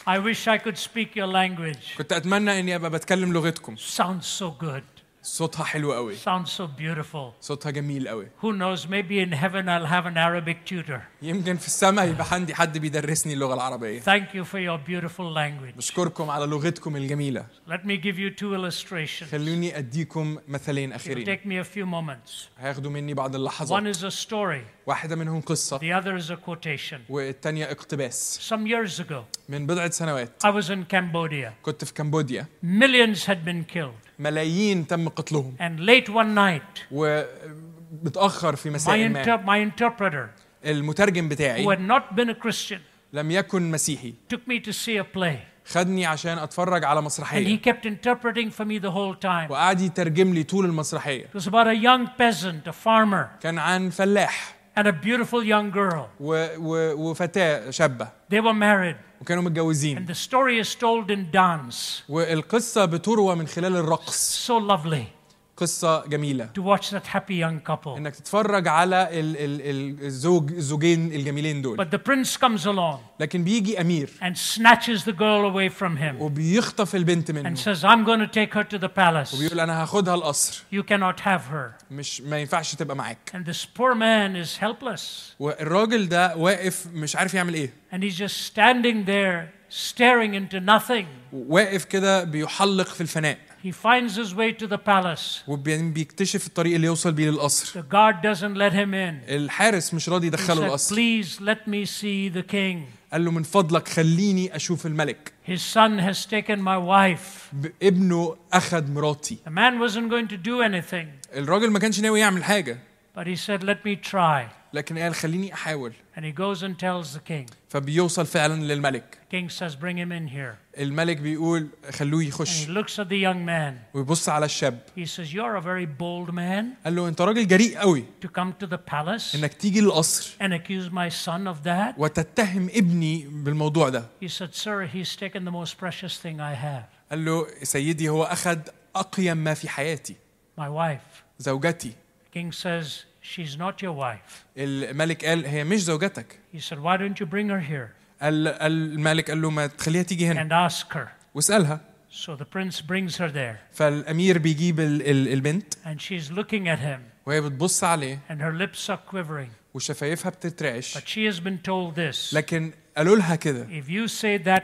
Speaker 1: I wish I could speak your language.
Speaker 2: كنت اتمنى اني ابقى بتكلم لغتكم
Speaker 1: Sounds so good.
Speaker 2: صوتها حلو قوي
Speaker 1: Sounds so beautiful.
Speaker 2: صوتها جميل قوي
Speaker 1: Who knows, maybe in heaven I'll have an Arabic tutor.
Speaker 2: يمكن في السماء يبقى عندي حد بيدرسني اللغه العربيه
Speaker 1: Thank you for your beautiful language.
Speaker 2: بشكركم على لغتكم الجميله
Speaker 1: Let me give you two illustrations. It'll
Speaker 2: خلوني اديكم مثلين اخيرين
Speaker 1: take me a few moments.
Speaker 2: هياخدوا مني بعض
Speaker 1: One
Speaker 2: اللحظات
Speaker 1: is a story,
Speaker 2: واحده منهم قصه
Speaker 1: the other is a quotation.
Speaker 2: والتانية اقتباس
Speaker 1: Some years ago,
Speaker 2: من بضعة سنوات
Speaker 1: I was in Cambodia.
Speaker 2: كنت في كمبوديا
Speaker 1: Millions had been killed.
Speaker 2: ملايين تم قتلهم
Speaker 1: And late one night,
Speaker 2: وبتأخر في
Speaker 1: my,
Speaker 2: مساء ما
Speaker 1: inter- my interpreter,
Speaker 2: المترجم
Speaker 1: who
Speaker 2: بتاعي
Speaker 1: had not been a Christian,
Speaker 2: لم يكن مسيحي
Speaker 1: took me to see a play.
Speaker 2: خدني عشان اتفرج على
Speaker 1: And he
Speaker 2: مسرحيه
Speaker 1: kept interpreting for me the whole time.
Speaker 2: وقعد يترجم لي طول المسرحيه
Speaker 1: It was about a young peasant, a farmer,
Speaker 2: كان عن فلاح
Speaker 1: and a beautiful young girl.
Speaker 2: و... و... وفتاه شابه
Speaker 1: They were married,
Speaker 2: وكانوا
Speaker 1: and
Speaker 2: متجوزين
Speaker 1: the story is told in dance.
Speaker 2: والقصه بتروى من خلال الرقص
Speaker 1: So lovely
Speaker 2: قصه جميله
Speaker 1: to watch that happy young couple.
Speaker 2: انك تتفرج على ال... ال... ال- الزوج الزوجين الجميلين دول
Speaker 1: But the prince comes along
Speaker 2: لكن بيجي امير
Speaker 1: and snatches the girl away from
Speaker 2: Oh,
Speaker 1: him
Speaker 2: وبيخطف البنت
Speaker 1: and
Speaker 2: منه
Speaker 1: says, I'm going to take her to the palace.
Speaker 2: وبيقول انا هاخدها القصر
Speaker 1: You cannot have her.
Speaker 2: مش ما ينفعش تبقى معاك
Speaker 1: And this poor man is helpless.
Speaker 2: والراجل ده واقف مش عارف يعمل ايه
Speaker 1: And he's just standing there, staring into nothing.
Speaker 2: واقف كده بيحلق في الفناء
Speaker 1: He finds his way to the palace.
Speaker 2: وبعدين بيكتشف الطريق اللي يوصل بيه للقصر
Speaker 1: The guard doesn't let him in.
Speaker 2: الحارس مش راضي
Speaker 1: He
Speaker 2: يدخله
Speaker 1: said,
Speaker 2: القصر
Speaker 1: Please let me see the king.
Speaker 2: قال له من فضلك خليني اشوف الملك
Speaker 1: His son has taken my wife.
Speaker 2: ب- ابنه اخد مراتي
Speaker 1: The man wasn't going to do anything,
Speaker 2: الراجل ما كانش ناوي يعمل حاجه
Speaker 1: but he said, Let me try.
Speaker 2: لكن قال خليني احاول
Speaker 1: And he goes and tells the king.
Speaker 2: فبيوصل فعلا للملك
Speaker 1: The king says, Bring him in here.
Speaker 2: الملك بيقول خلوه
Speaker 1: And he
Speaker 2: يخش
Speaker 1: looks at the young man.
Speaker 2: ويبص على الشاب
Speaker 1: He says, You're a very bold man
Speaker 2: قال له انت راجل جريء قوي
Speaker 1: to come to the palace
Speaker 2: انك تيجي للقصر
Speaker 1: and accuse my son of that.
Speaker 2: وتتهم ابني بالموضوع ده
Speaker 1: He said, Sir, he's taken the most precious thing I have,
Speaker 2: قال له سيدي هو اخد اقيم ما في حياتي
Speaker 1: my wife.
Speaker 2: زوجتي
Speaker 1: The king says, She's not your wife.
Speaker 2: الملك قال هي مش زوجتك
Speaker 1: He said, Why don't you bring her here
Speaker 2: قال قال الملك قال له ما تخليها تيجي هنا
Speaker 1: and ask her?
Speaker 2: واسالها
Speaker 1: So the prince brings her there,
Speaker 2: فالامير بيجيب ال- ال- البنت
Speaker 1: and she's looking at him,
Speaker 2: وهي بتبص عليه
Speaker 1: and her lips are quivering.
Speaker 2: وشفايفها بتترعش
Speaker 1: But she has been told this
Speaker 2: لكن قالوا لها كده
Speaker 1: If you say that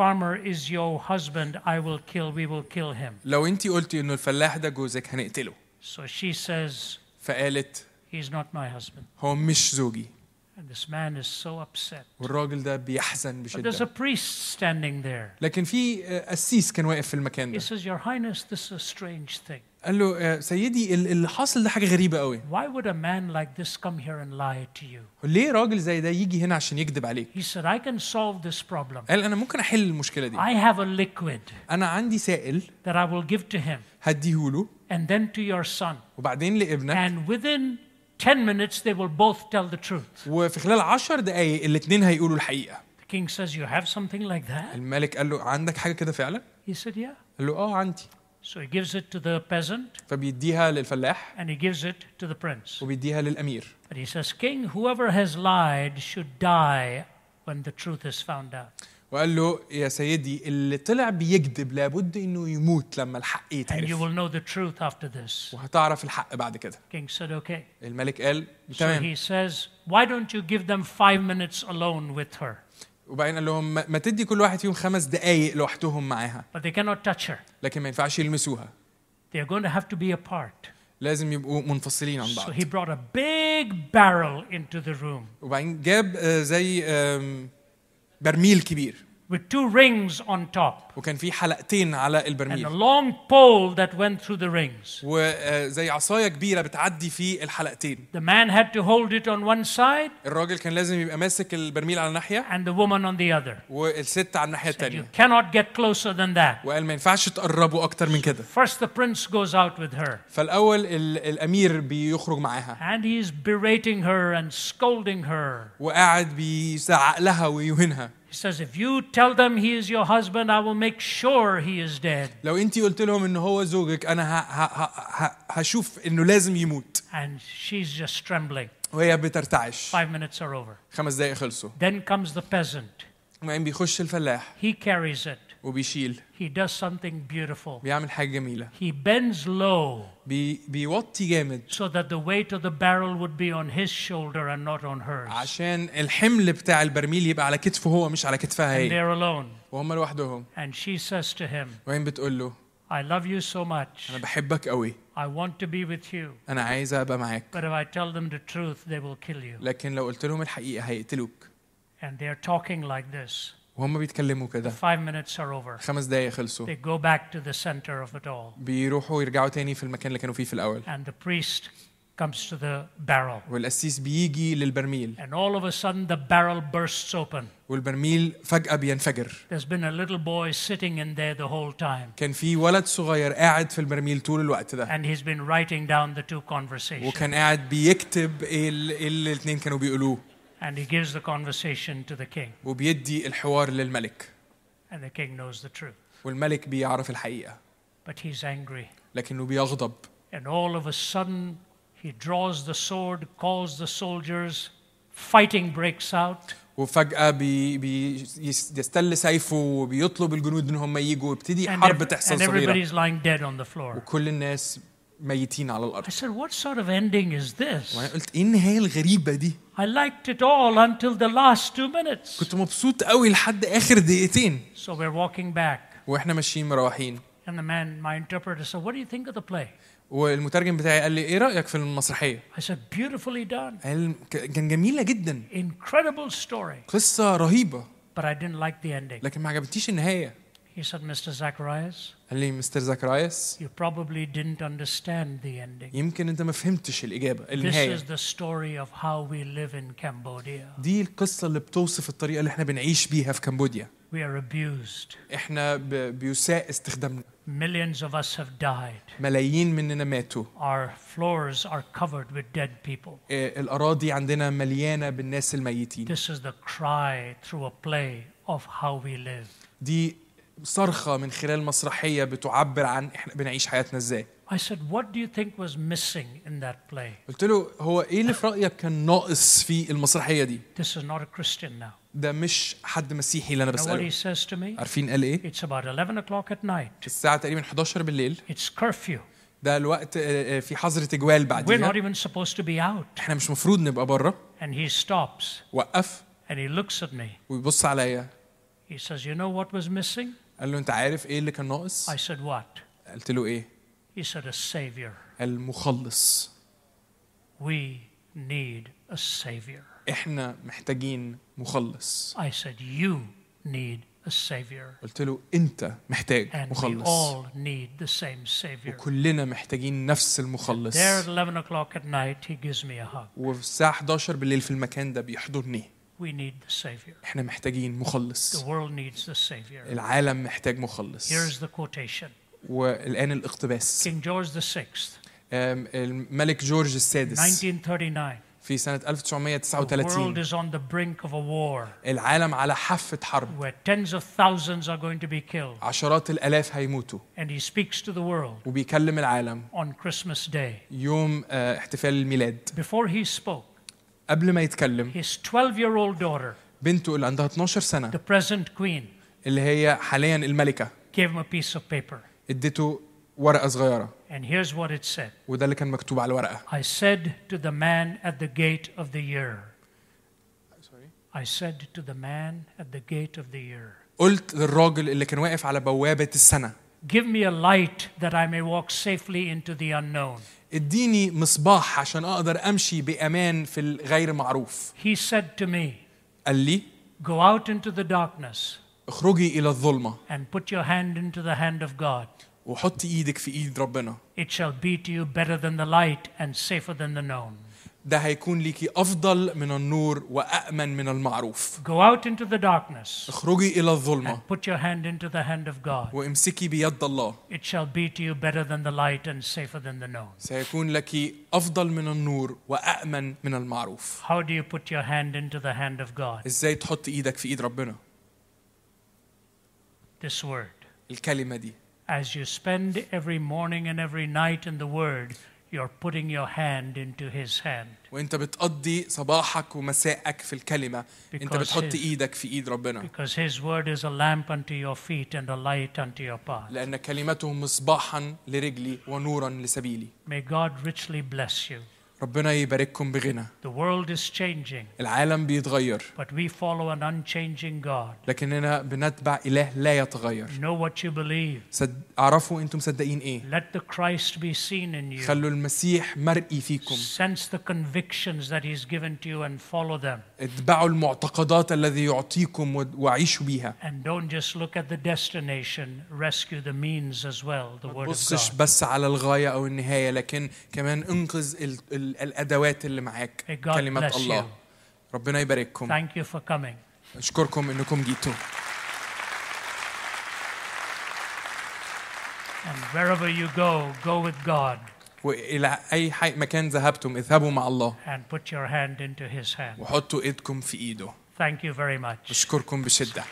Speaker 1: farmer is your husband, I will kill, we will kill him.
Speaker 2: لو انت قلتي انه الفلاح ده جوزك هنقتله
Speaker 1: So she says,
Speaker 2: فقالت
Speaker 1: He's not my husband.
Speaker 2: هو مش زوجي
Speaker 1: And this man is so upset.
Speaker 2: والراجل ده بيحزن
Speaker 1: But there's a
Speaker 2: بشده
Speaker 1: priest standing there.
Speaker 2: لكن في آه، قسيس كان واقف في المكان
Speaker 1: He
Speaker 2: ده
Speaker 1: says, Your Highness, this is a strange thing.
Speaker 2: قال له آه، سيدي ال- اللي حاصل ده حاجه غريبه قوي
Speaker 1: Why would a man like this come here and lie to you?
Speaker 2: ليه راجل زي ده يجي هنا عشان يكذب عليك
Speaker 1: He said, I can solve this problem.
Speaker 2: قال انا ممكن احل المشكله دي
Speaker 1: I have a liquid
Speaker 2: انا عندي سائل
Speaker 1: that I will give to him
Speaker 2: هديهوله
Speaker 1: and then to your son.
Speaker 2: وبعدين لابنك
Speaker 1: And within 10 minutes, they will both tell the truth.
Speaker 2: وفي خلال عشر دقايق الاتنين هيقولوا الحقيقه
Speaker 1: The king says, You have something like that?
Speaker 2: الملك قال له عندك حاجه كده فعلا
Speaker 1: He said, Yeah.
Speaker 2: قال له اه عندي
Speaker 1: So he gives it to the peasant
Speaker 2: فبيديها للفلاح
Speaker 1: and he gives it to the prince.
Speaker 2: وبيديها للامير
Speaker 1: But he says, King, whoever has lied should die when the truth is found out.
Speaker 2: وقال له يا سيدي اللي طلع بيكذب لابد انه يموت لما الحق
Speaker 1: And you
Speaker 2: يتعرف
Speaker 1: will know the truth after this.
Speaker 2: وهتعرف الحق بعد كده
Speaker 1: King said, Okay.
Speaker 2: الملك قال
Speaker 1: So
Speaker 2: تمام
Speaker 1: he says, Why don't you give them five minutes alone with her?
Speaker 2: وبعدين قال لهم ما ما تدي كل واحد فيهم خمس دقايق لوحدهم معاها
Speaker 1: But they cannot touch her.
Speaker 2: لكن ما ينفعش يلمسوها
Speaker 1: They're going to have to be apart.
Speaker 2: لازم يبقوا منفصلين عن
Speaker 1: So
Speaker 2: بعض
Speaker 1: he brought a big barrel into the room
Speaker 2: وبعدين جاب آه، زي آم، برميل كبير
Speaker 1: with two rings on top
Speaker 2: وكان في حلقتين على
Speaker 1: and a
Speaker 2: البرميل آه،
Speaker 1: long pole that went through the rings.
Speaker 2: وزي عصايه كبيره بتعدي في الحلقتين
Speaker 1: The man had to hold it on one side
Speaker 2: الراجل كان لازم يبقى ماسك البرميل على ناحيه
Speaker 1: and the woman on the other.
Speaker 2: والست على الناحيه
Speaker 1: And you
Speaker 2: الثانيه
Speaker 1: cannot get closer than that.
Speaker 2: وقال ما ينفعش تقربوا اكتر من كده
Speaker 1: First, the prince goes out with her
Speaker 2: فالاول ال- الامير بيخرج معاها
Speaker 1: and he's berating her and scolding her.
Speaker 2: وقاعد بيزعق لها ويهينها
Speaker 1: He says, If you tell them he is your husband, I will make sure he is dead.
Speaker 2: لو انت قلت لهم ان هو زوجك انا ه... ه... ه... ه... هشوف انه لازم يموت
Speaker 1: And she's just trembling.
Speaker 2: وهي بترتعش
Speaker 1: طيب. Five minutes are over.
Speaker 2: خمس دقايق خلصوا
Speaker 1: Then comes the peasant
Speaker 2: وبعدين بيخش الفلاح
Speaker 1: He carries it.
Speaker 2: وبيشيل
Speaker 1: He does something beautiful.
Speaker 2: بيعمل حاجه جميله
Speaker 1: He bends low
Speaker 2: بي بيوطي جامد
Speaker 1: so that the weight of the barrel would be on his shoulder and not on hers.
Speaker 2: عشان الحمل بتاع البرميل يبقى على كتفه هو مش على كتفها
Speaker 1: And
Speaker 2: هي
Speaker 1: they're alone.
Speaker 2: وهم لوحدهم
Speaker 1: And she says to him,
Speaker 2: وبعدين بتقول له
Speaker 1: I love you so much.
Speaker 2: انا بحبك قوي
Speaker 1: I want to be with you.
Speaker 2: انا عايزه ابقى معاك
Speaker 1: But if I tell them the truth, they will kill you.
Speaker 2: لكن لو قلت لهم الحقيقه هيقتلوك
Speaker 1: And they're talking like this.
Speaker 2: وهم بيتكلموا كده
Speaker 1: Five minutes are over.
Speaker 2: خمس دقايق خلصوا
Speaker 1: They go back to the center of it all.
Speaker 2: بيروحوا يرجعوا تاني في المكان اللي كانوا فيه في الاول
Speaker 1: And the priest comes to the barrel.
Speaker 2: والقسيس بيجي للبرميل
Speaker 1: And all of a sudden, the barrel bursts open.
Speaker 2: والبرميل فجاه بينفجر
Speaker 1: There's been a little boy sitting in there the whole time.
Speaker 2: كان في ولد صغير قاعد في البرميل طول الوقت ده
Speaker 1: And he's been writing down the two conversations.
Speaker 2: وكان قاعد بيكتب ايه ال- إيه اللي الاتنين كانوا بيقولوه
Speaker 1: And he gives the conversation to the king.
Speaker 2: وبيدي الحوار للملك
Speaker 1: And the king knows the truth.
Speaker 2: والملك بيعرف الحقيقه
Speaker 1: But he's angry.
Speaker 2: لكنه بيغضب
Speaker 1: And all of a sudden, he draws the sword, calls the soldiers, fighting breaks out,
Speaker 2: وفجأة بي بي يس- يستل سيفه وبيطلب الجنود ان هم يجوا ويبتدي
Speaker 1: and,
Speaker 2: حرب
Speaker 1: ev-
Speaker 2: تحصل
Speaker 1: and
Speaker 2: صغيرة
Speaker 1: everybody's lying dead on the floor.
Speaker 2: وكل الناس ميتين على الارض
Speaker 1: I said, What sort of ending is
Speaker 2: وانا
Speaker 1: this?
Speaker 2: قلت ايه النهاية الغريبة دي؟
Speaker 1: I liked it all until the last two minutes.
Speaker 2: كنت مبسوط قوي لحد اخر دقيقتين
Speaker 1: So we're walking back,
Speaker 2: واحنا ماشيين مروحين
Speaker 1: and the man, my interpreter, said, What do you think of the play?
Speaker 2: والمترجم بتاعي قال لي ايه رأيك في المسرحية؟
Speaker 1: I said, Beautifully done,
Speaker 2: قال ك- كان جميلة جدا
Speaker 1: incredible story,
Speaker 2: قصة رهيبة
Speaker 1: but I didn't like the ending.
Speaker 2: لكن ما عجبتنيش النهاية
Speaker 1: He said, Mr. Zacharias,
Speaker 2: قال لي مستر زكرايس
Speaker 1: you probably didn't understand the ending.
Speaker 2: يمكن انت ما فهمتش الإجابة
Speaker 1: This
Speaker 2: النهاية
Speaker 1: is the story of how we live in Cambodia.
Speaker 2: دي القصة اللي بتوصف الطريقة اللي احنا بنعيش بيها في كمبوديا
Speaker 1: We are abused.
Speaker 2: احنا ب- بيساء استخدامنا
Speaker 1: Millions of us have died.
Speaker 2: ملايين مننا ماتوا
Speaker 1: Our floors are covered with dead people.
Speaker 2: آه، الأراضي عندنا مليانة بالناس الميتين
Speaker 1: This is the cry through a play of how we live.
Speaker 2: دي صرخة من خلال مسرحية بتعبر عن احنا بنعيش حياتنا ازاي
Speaker 1: I said, What do you think was missing in that play?
Speaker 2: قلت له هو ايه اللي في رأيك كان ناقص في المسرحية دي
Speaker 1: This is not a Christian now.
Speaker 2: ده مش حد مسيحي اللي انا
Speaker 1: Now, what he
Speaker 2: بسأله
Speaker 1: says to me?
Speaker 2: عارفين قال ايه
Speaker 1: It's about 11 o'clock at night.
Speaker 2: الساعة تقريبا 11 بالليل
Speaker 1: It's curfew.
Speaker 2: ده الوقت آه، آه، في حظر تجوال
Speaker 1: We're
Speaker 2: بعديها
Speaker 1: not even supposed to be out.
Speaker 2: احنا مش مفروض نبقى بره
Speaker 1: And he stops
Speaker 2: وقف
Speaker 1: and he looks at me.
Speaker 2: ويبص عليا
Speaker 1: He says, You know what was missing?
Speaker 2: قال له انت عارف ايه اللي كان ناقص
Speaker 1: I said, What?
Speaker 2: قلت له ايه
Speaker 1: He said, A savior.
Speaker 2: المخلص
Speaker 1: We need a savior.
Speaker 2: احنا محتاجين مخلص
Speaker 1: I said, You need a savior.
Speaker 2: قلت له انت محتاج
Speaker 1: And we
Speaker 2: مخلص
Speaker 1: all need the same savior.
Speaker 2: وكلنا محتاجين نفس المخلص
Speaker 1: There at 11 o'clock at night, he gives me a hug.
Speaker 2: وفي الساعة 11 بالليل في المكان ده بيحضرني
Speaker 1: We need the savior.
Speaker 2: احنا محتاجين
Speaker 1: The
Speaker 2: مخلص
Speaker 1: world needs the savior.
Speaker 2: العالم محتاج مخلص
Speaker 1: Here's the quotation
Speaker 2: والآن الاقتباس
Speaker 1: King George VI,
Speaker 2: أم، الملك جورج السادس
Speaker 1: 1939.
Speaker 2: في سنة
Speaker 1: The world
Speaker 2: 1939
Speaker 1: is on the brink of a war
Speaker 2: العالم على حافة حرب
Speaker 1: where tens of thousands are going to be killed.
Speaker 2: عشرات الآلاف هيموتوا
Speaker 1: And he speaks to the world
Speaker 2: وبيكلم العالم
Speaker 1: on Christmas Day.
Speaker 2: يوم آه، احتفال الميلاد
Speaker 1: Before he spoke,
Speaker 2: قبل ما يتكلم
Speaker 1: his 12 year old daughter,
Speaker 2: بنته اللي عندها 12 سنة
Speaker 1: the present queen,
Speaker 2: اللي هي حاليا الملكة
Speaker 1: gave him a piece of paper.
Speaker 2: اديته ورقة صغيرة
Speaker 1: And here's what it said
Speaker 2: وده اللي كان مكتوب على الورقة
Speaker 1: I said to the man at the gate of the year, I said to the man at the gate of the year,
Speaker 2: قلت للراجل اللي كان واقف على بوابة السنة
Speaker 1: Give me a light that I may walk safely into the unknown.
Speaker 2: اديني مصباح عشان اقدر امشي بامان في الغير معروف
Speaker 1: He said to me,
Speaker 2: قال لي
Speaker 1: Go out into the darkness
Speaker 2: اخرجي الى الظلمة
Speaker 1: and put your hand into the hand of God.
Speaker 2: وحطي ايدك في ايد ربنا
Speaker 1: It shall be to you better than the light and safer than the known.
Speaker 2: ده هيكون ليكي افضل من النور وامن من المعروف
Speaker 1: Go out into the darkness
Speaker 2: اخرجي الى الظلمة
Speaker 1: and put your hand into the hand of God.
Speaker 2: وامسكي بيد الله
Speaker 1: It shall be to you better than the light and safer than the known.
Speaker 2: سيكون لك افضل من النور وامن من المعروف
Speaker 1: How do you put your hand into the hand of God?
Speaker 2: ازاي تحط ايدك في ايد ربنا
Speaker 1: This word.
Speaker 2: الكلمة دي
Speaker 1: As you spend every morning and every night in the word, you're putting your hand into His hand.
Speaker 2: وانت بتقضي صباحك ومساءك في الكلمه انت
Speaker 1: Because
Speaker 2: بتحط
Speaker 1: his-
Speaker 2: ايدك في ايد ربنا
Speaker 1: Because His word is a lamp unto your feet and a light unto your path.
Speaker 2: لان كلمته مصباحا لرجلي ونورا لسبيلي
Speaker 1: May God richly bless you.
Speaker 2: ربنا يبارككم بغنى
Speaker 1: The world is changing,
Speaker 2: العالم بيتغير
Speaker 1: but we follow an unchanging God.
Speaker 2: لكننا بنتبع اله لا يتغير
Speaker 1: Know what you believe.
Speaker 2: صد... اعرفوا انتم مصدقين ايه
Speaker 1: Let the Christ be seen in you.
Speaker 2: خلوا المسيح مرئي فيكم
Speaker 1: Sense the convictions that He's given to you and follow them.
Speaker 2: اتبعوا المعتقدات الذي يعطيكم و- وعيشوا بيها
Speaker 1: And don't just look at the destination, rescue the means as well, the Word of
Speaker 2: بصش
Speaker 1: God.
Speaker 2: بس على الغاية أو النهاية لكن كمان انقذ ال ال الأدوات اللي معاك
Speaker 1: May God
Speaker 2: كلمة
Speaker 1: bless
Speaker 2: الله ربنا يبارككم
Speaker 1: Thank you for coming.
Speaker 2: أشكركم إنكم جيتوا
Speaker 1: And wherever you go, go with God
Speaker 2: وإلى أي حي مكان ذهبتم اذهبوا مع الله
Speaker 1: and put your hand into His hand.
Speaker 2: وحطوا إيدكم في إيده
Speaker 1: Thank you very much.
Speaker 2: أشكركم بشدة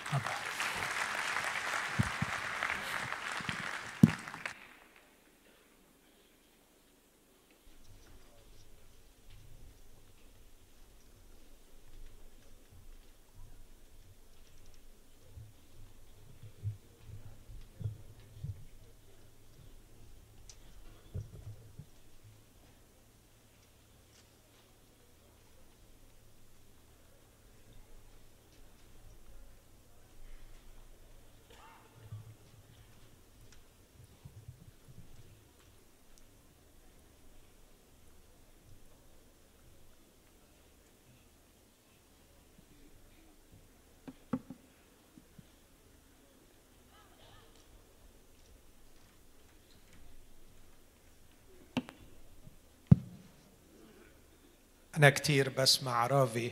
Speaker 3: أنا كتير بسمع رافي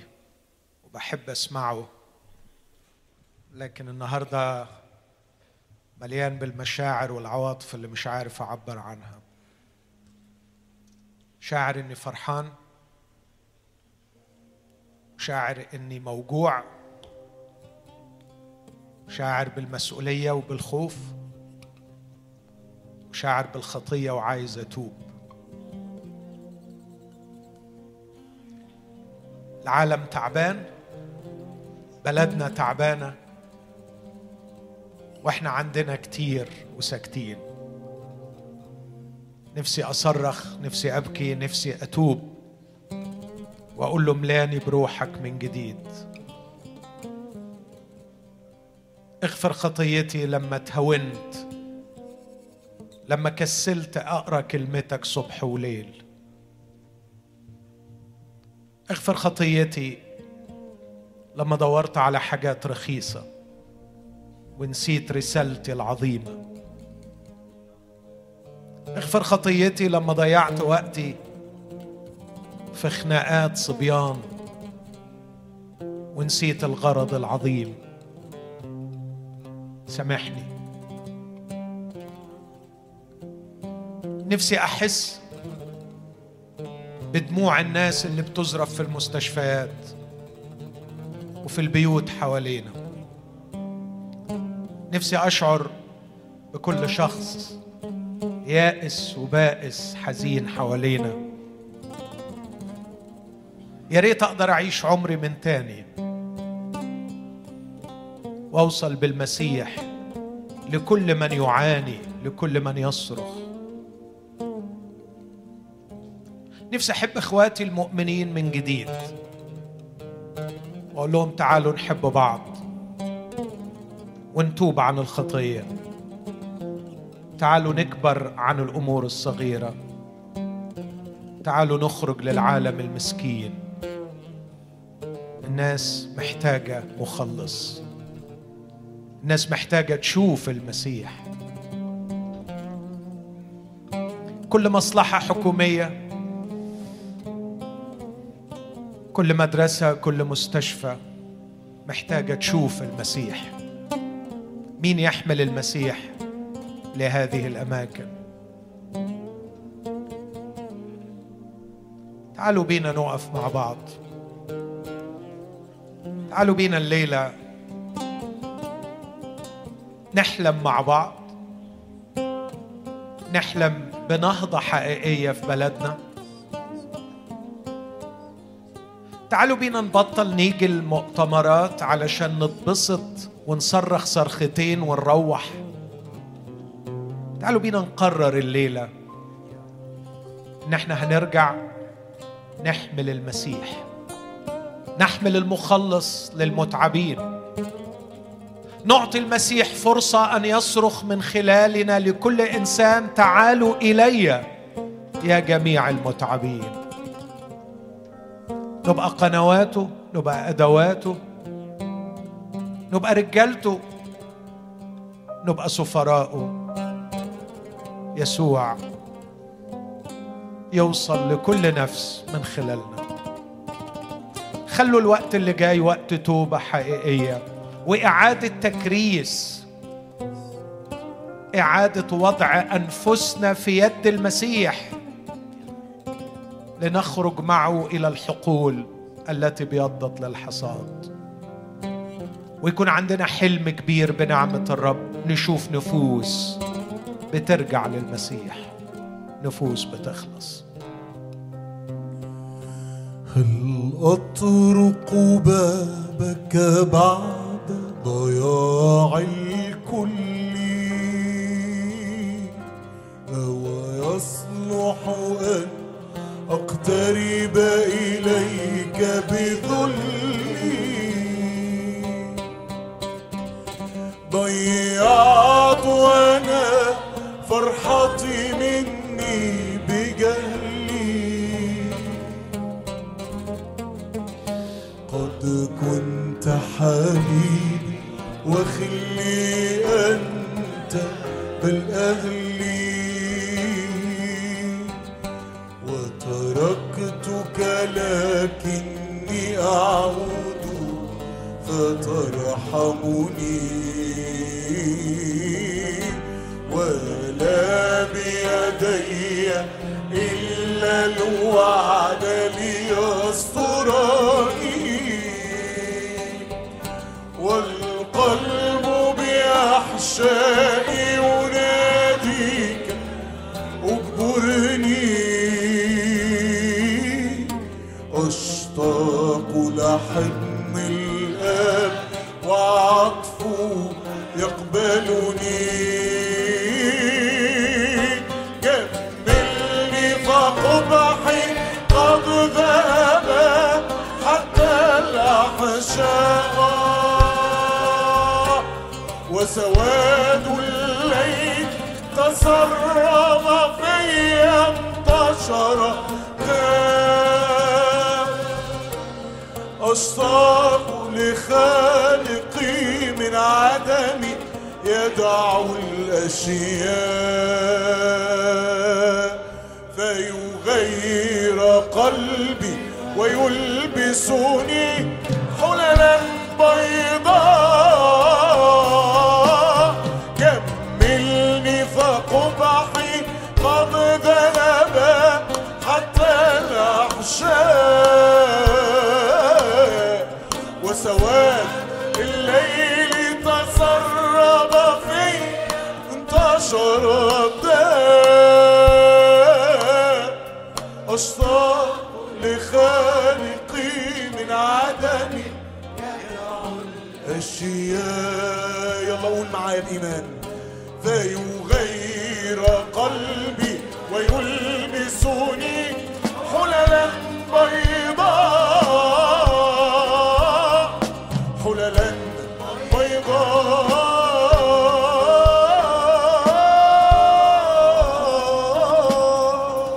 Speaker 3: وبحب أسمعه لكن النهاردة مليان بالمشاعر والعواطف اللي مش عارف أعبر عنها شاعر إني فرحان شاعر إني موجوع شاعر بالمسؤولية وبالخوف وشاعر بالخطية وعايز أتوب العالم تعبان بلدنا تعبانه واحنا عندنا كتير وساكتين نفسي اصرخ نفسي ابكي نفسي اتوب واقول له ملاني بروحك من جديد اغفر خطيتي لما تهونت لما كسلت اقرا كلمتك صبح وليل اغفر خطيتي لما دورت على حاجات رخيصة ونسيت رسالتي العظيمة اغفر خطيتي لما ضيعت وقتي في خناقات صبيان ونسيت الغرض العظيم سامحني نفسي احس بدموع الناس اللي بتزرف في المستشفيات وفي البيوت حوالينا نفسي اشعر بكل شخص يائس وبائس حزين حوالينا يا ريت اقدر اعيش عمري من تاني واوصل بالمسيح لكل من يعاني لكل من يصرخ نفسي احب اخواتي المؤمنين من جديد واقول لهم تعالوا نحب بعض ونتوب عن الخطيه تعالوا نكبر عن الامور الصغيره تعالوا نخرج للعالم المسكين الناس محتاجه مخلص الناس محتاجه تشوف المسيح كل مصلحه حكوميه كل مدرسة كل مستشفى محتاجة تشوف المسيح مين يحمل المسيح لهذه الأماكن تعالوا بينا نقف مع بعض تعالوا بينا الليلة نحلم مع بعض نحلم بنهضة حقيقية في بلدنا تعالوا بينا نبطل نيجي المؤتمرات علشان نتبسط ونصرخ صرختين ونروح تعالوا بينا نقرر الليلة إن إحنا هنرجع نحمل المسيح نحمل المخلص للمتعبين نعطي المسيح فرصة أن يصرخ من خلالنا لكل إنسان تعالوا إلي يا جميع المتعبين نبقى قنواته نبقى أدواته نبقى رجالته نبقى سفراءه يسوع يوصل لكل نفس من خلالنا خلوا الوقت اللي جاي وقت توبة حقيقية وإعادة تكريس إعادة وضع أنفسنا في يد المسيح لنخرج معه إلى الحقول التي بيضت للحصاد ويكون عندنا حلم كبير بنعمة الرب نشوف نفوس بترجع للمسيح نفوس بتخلص
Speaker 4: هل أطرق بابك بعد ضياع الكل أو يصلح أن أقترب إليك بذلي ضيعت أنا فرحتي مني بجهلي قد كنت حبيبي وخلي أنت بل أهلي وتركتك لكني أعود فترحمني ولا بيدي إلا الوعد ليستراني والقلب بأحشاء يناديك اجبرني أشتاق لحضن الآب وعطفه يقبلني جملني فقبحي قد ذهب حتى الأحشاء وسواد الليل تسرب في انتشر أشتاق لخالقي من عدمي يدع الأشياء فيغير قلبي ويلبسني حللا بيضاء كملني فقبحي قد ذنب حتى الأحشاء وسواد الليل تسرب في انتشر الداء أشتاق لخالقي من عدمي أشياء يلا قول معايا بإيمان فيغير قلبي ويلبسني حللا بيضاء حللا بيضاء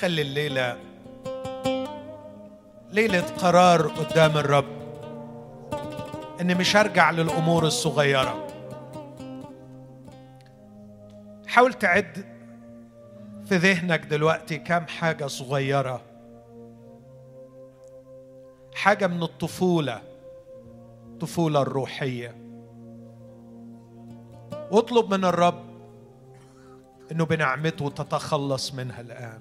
Speaker 3: خلي الليلة ليلة قرار قدام الرب إني مش هرجع للأمور الصغيرة حاول تعد في ذهنك دلوقتي كام حاجة صغيرة حاجة من الطفولة الطفولة الروحية واطلب من الرب انه بنعمته تتخلص منها الان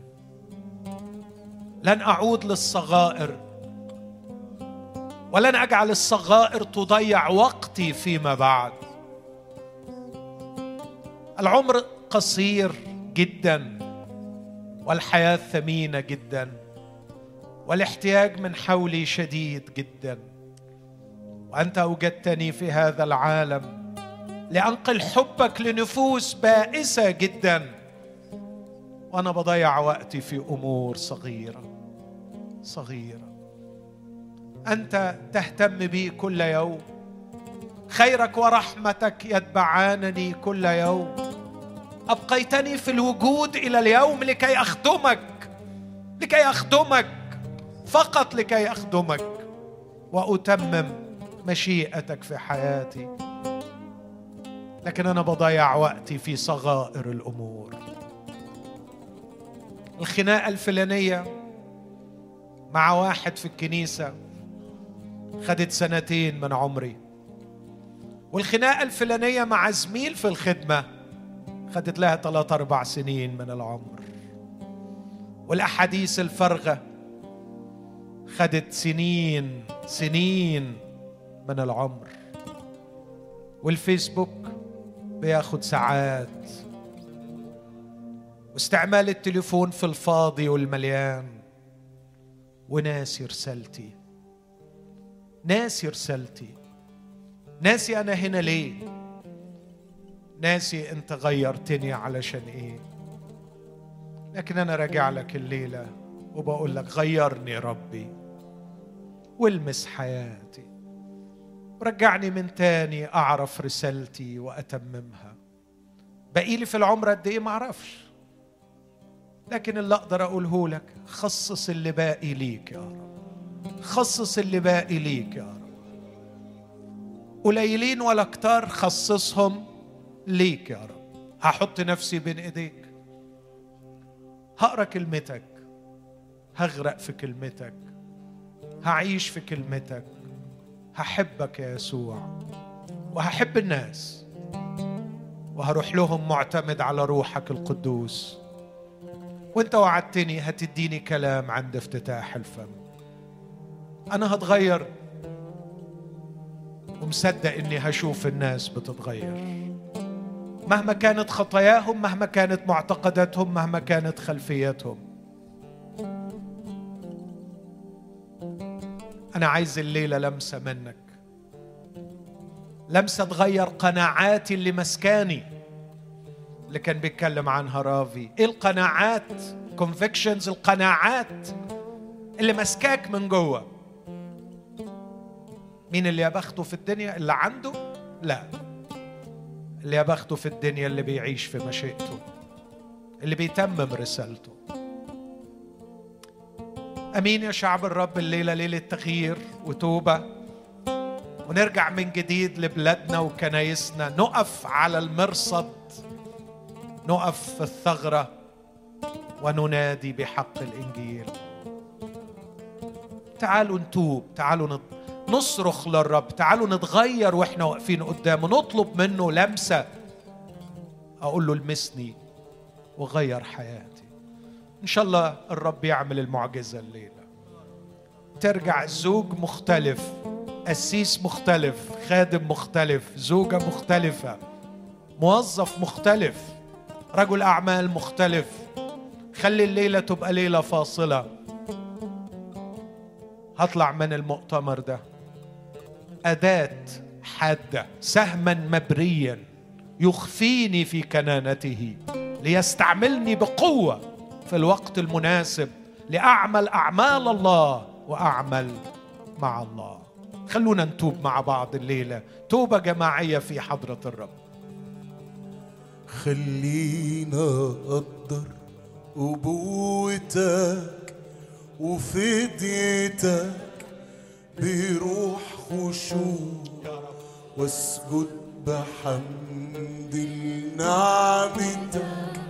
Speaker 3: لن اعود للصغائر ولن اجعل الصغائر تضيع وقتي فيما بعد العمر قصير جدا والحياه ثمينه جدا والاحتياج من حولي شديد جدا وانت اوجدتني في هذا العالم لانقل حبك لنفوس بائسه جدا وانا بضيع وقتي في امور صغيره صغيره انت تهتم بي كل يوم خيرك ورحمتك يتبعانني كل يوم ابقيتني في الوجود الى اليوم لكي اخدمك لكي اخدمك فقط لكي اخدمك واتمم مشيئتك في حياتي لكن انا بضيع وقتي في صغائر الامور الخناقه الفلانيه مع واحد في الكنيسه خدت سنتين من عمري والخناقه الفلانيه مع زميل في الخدمه خدت لها ثلاث اربع سنين من العمر والاحاديث الفارغه خدت سنين سنين من العمر والفيسبوك بياخد ساعات واستعمال التليفون في الفاضي والمليان وناسي رسالتي ناسي رسالتي ناسي انا هنا ليه ناسي انت غيرتني علشان ايه لكن انا راجع لك الليله وبقول لك غيرني ربي والمس حياتي رجعني من تاني اعرف رسالتي واتممها بقيلي في العمر قد ايه معرفش لكن اللي اقدر اقوله لك خصص اللي باقي ليك يا رب خصص اللي باقي ليك يا رب قليلين ولا كتار خصصهم ليك يا رب هحط نفسي بين ايديك هقرا كلمتك هغرق في كلمتك هعيش في كلمتك هحبك يا يسوع وهحب الناس وهروح لهم معتمد على روحك القدوس وانت وعدتني هتديني كلام عند افتتاح الفم انا هتغير ومصدق اني هشوف الناس بتتغير مهما كانت خطاياهم مهما كانت معتقداتهم مهما كانت خلفياتهم انا عايز الليله لمسه منك لمسه تغير قناعاتي اللي مسكاني اللي كان بيتكلم عنها رافي ايه القناعات كونفكشنز القناعات اللي مسكاك من جوه مين اللي يا بخته في الدنيا اللي عنده لا اللي يا بخته في الدنيا اللي بيعيش في مشيئته اللي بيتمم رسالته امين يا شعب الرب الليله ليله تغيير وتوبه ونرجع من جديد لبلادنا وكنايسنا نقف على المرصد نقف في الثغره وننادي بحق الانجيل تعالوا نتوب تعالوا نت... نصرخ للرب تعالوا نتغير واحنا واقفين قدامه نطلب منه لمسه اقول له المسني وغير حياتي ان شاء الله الرب يعمل المعجزه الليله ترجع زوج مختلف قسيس مختلف خادم مختلف زوجه مختلفه موظف مختلف رجل اعمال مختلف خلي الليله تبقى ليله فاصله هطلع من المؤتمر ده اداه حاده سهما مبريا يخفيني في كنانته ليستعملني بقوه في الوقت المناسب لاعمل اعمال الله واعمل مع الله خلونا نتوب مع بعض الليله توبه جماعيه في حضره الرب
Speaker 4: خلينا اقدر قبوتك وفديتك بروح خشوع واسجد بحمد لنعمتك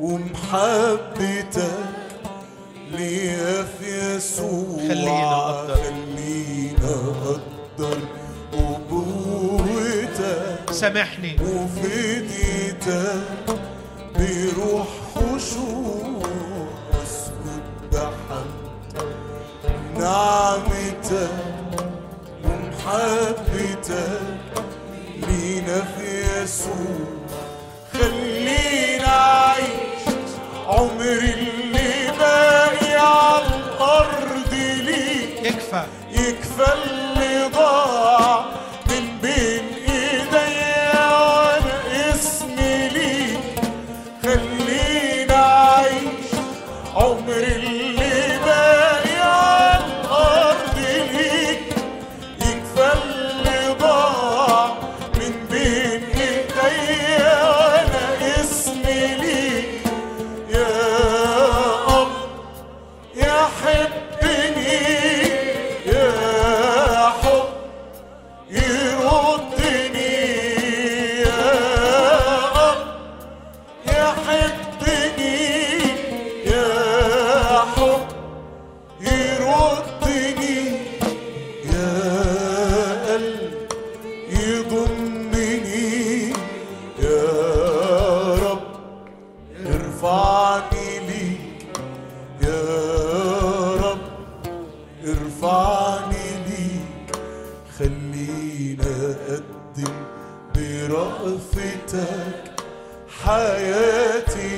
Speaker 4: ومحبتك ليا في يسوع
Speaker 3: خلينا أقدر.
Speaker 4: خلينا اقدر قبوتك
Speaker 3: سامحني
Speaker 4: وفديتك بروح خشوع واسجد بحمدك نعمتك ومحبتك لينا في يسوع خلينا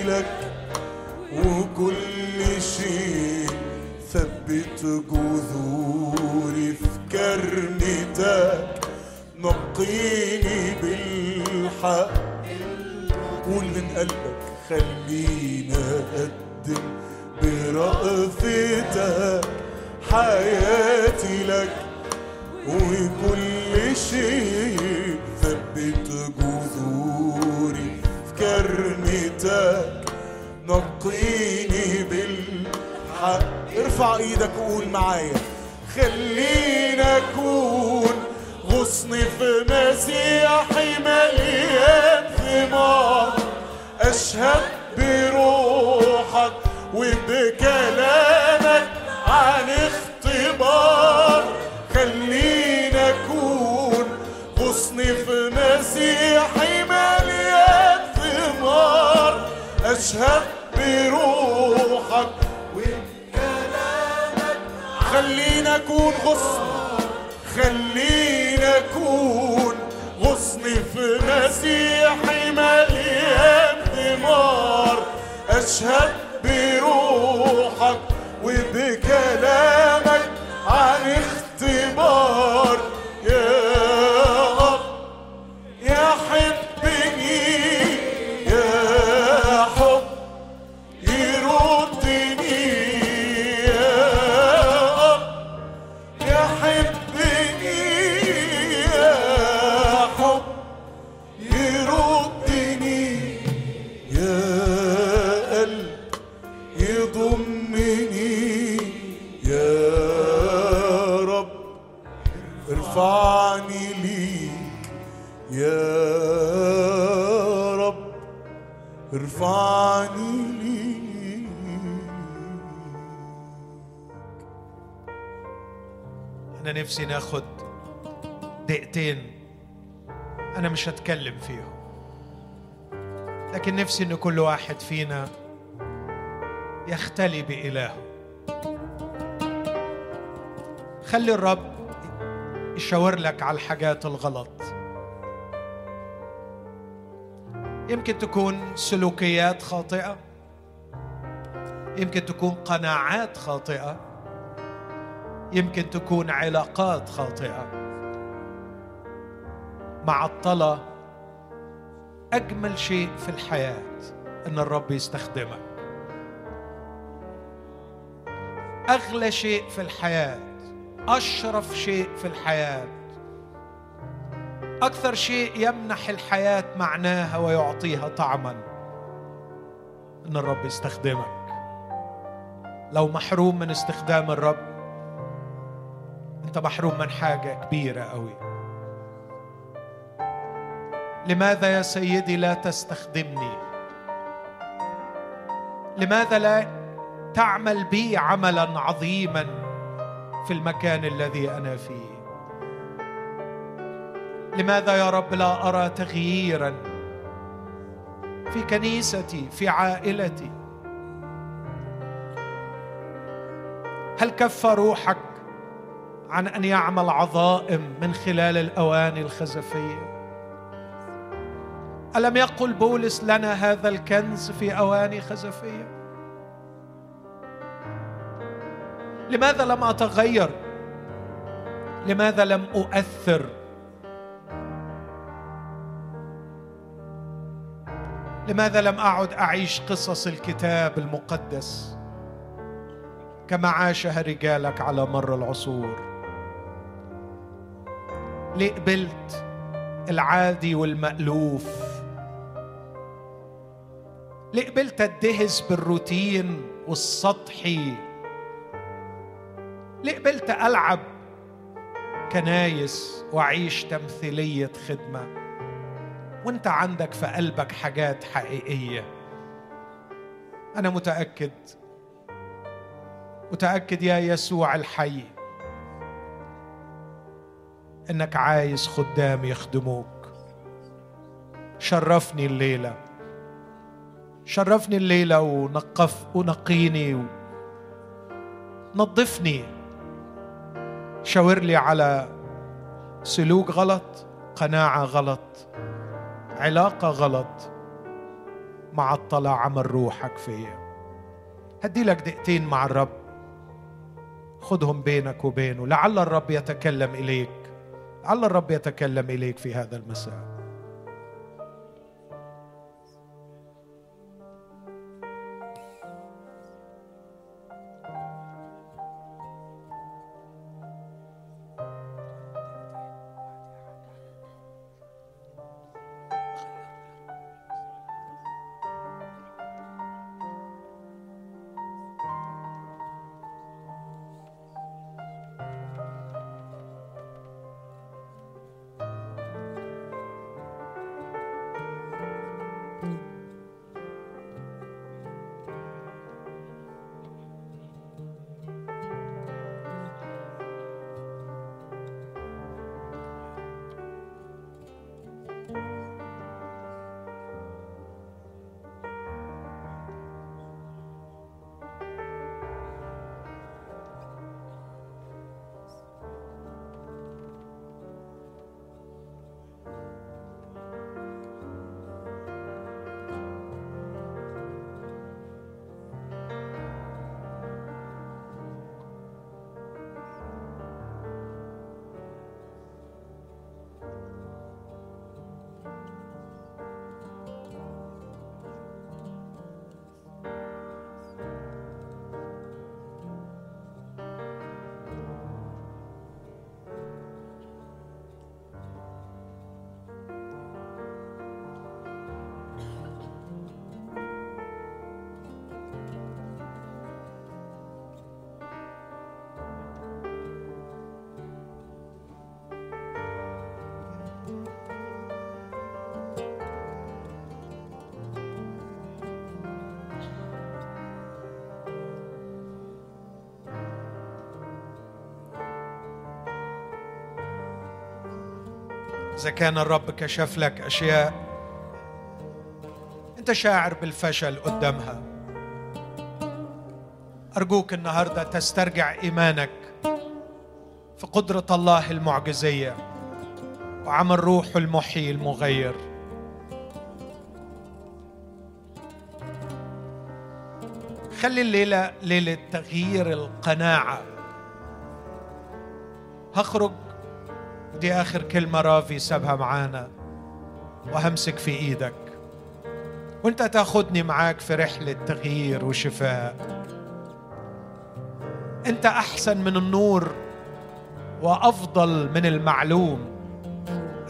Speaker 4: لك وكل شيء ثبت جذوري في كرنتك نقيني بالحق قول من قلبك خلينا أقدم برأفتك حياتي لك وكل شيء ثبت جذوري في كرنتك نقيني بالحق ارفع ايدك وقول معايا خلينا اكون غصن في مسيحي مليان ثمار اشهد بروحك وبكلامك عن اختبار خلينا اكون غصن في مسيحي مليان ثمار اشهد بروحك وبكلامك خلينا اكون غصن خلينا اكون غصن في مسيحي مليان ثمار اشهد بروحك وبكلامك عن اختبار يا رب يا حبني يا حب يردني يا رب يا حبني يا حب يردني يا قلب يضمني يا رب ارفعني ليك يا رب ارفعني ليك
Speaker 3: أنا نفسي ناخد دقيقتين أنا مش هتكلم فيهم لكن نفسي إن كل واحد فينا يختلي بإلهه خلي الرب يشاور لك على الحاجات الغلط يمكن تكون سلوكيات خاطئة يمكن تكون قناعات خاطئة يمكن تكون علاقات خاطئه معطله اجمل شيء في الحياه ان الرب يستخدمك اغلى شيء في الحياه اشرف شيء في الحياه اكثر شيء يمنح الحياه معناها ويعطيها طعما ان الرب يستخدمك لو محروم من استخدام الرب انت محروم من حاجه كبيره قوي لماذا يا سيدي لا تستخدمني لماذا لا تعمل بي عملا عظيما في المكان الذي انا فيه لماذا يا رب لا ارى تغييرا في كنيستي في عائلتي هل كف روحك عن ان يعمل عظائم من خلال الاواني الخزفيه الم يقل بولس لنا هذا الكنز في اواني خزفيه لماذا لم اتغير لماذا لم اؤثر لماذا لم اعد اعيش قصص الكتاب المقدس كما عاشها رجالك على مر العصور ليه قبلت العادي والمألوف ليه قبلت أدهس بالروتين والسطحي ليه قبلت ألعب كنايس وأعيش تمثيلية خدمة وأنت عندك في قلبك حاجات حقيقية أنا متأكد متأكد يا يسوع الحي إنك عايز خدام يخدموك شرفني الليلة شرفني الليلة ونقف ونقيني نظفني شاور لي على سلوك غلط قناعة غلط علاقة غلط معطلة عمل روحك فيا هديلك دقيقتين مع الرب خدهم بينك وبينه لعل الرب يتكلم إليك لعل الرب يتكلم إليك في هذا المساء إذا كان الرب كشف لك أشياء أنت شاعر بالفشل قدامها أرجوك النهاردة تسترجع إيمانك في قدرة الله المعجزية وعمل روحه المحيي المغير خلي الليلة ليلة تغيير القناعة هخرج دي آخر كلمة رافي سابها معانا وهمسك في إيدك وانت تاخدني معاك في رحلة تغيير وشفاء انت أحسن من النور وأفضل من المعلوم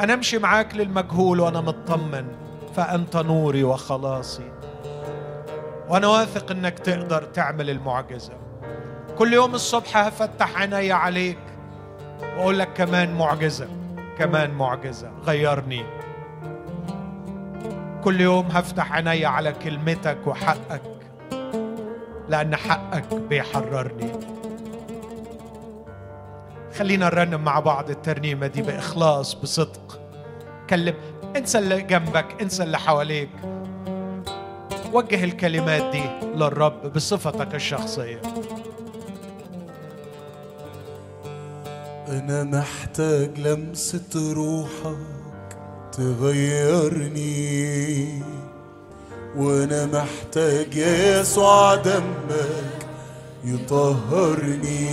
Speaker 3: أنا أمشي معاك للمجهول وأنا مطمن فأنت نوري وخلاصي وأنا واثق أنك تقدر تعمل المعجزة كل يوم الصبح هفتح عيني عليك واقول لك كمان معجزه كمان معجزه غيرني كل يوم هفتح عيني على كلمتك وحقك لان حقك بيحررني خلينا نرنم مع بعض الترنيمه دي باخلاص بصدق كلم انسى اللي جنبك انسى اللي حواليك وجه الكلمات دي للرب بصفتك الشخصيه
Speaker 4: أنا محتاج لمسة روحك تغيرني وأنا محتاج يسوع دمك يطهرني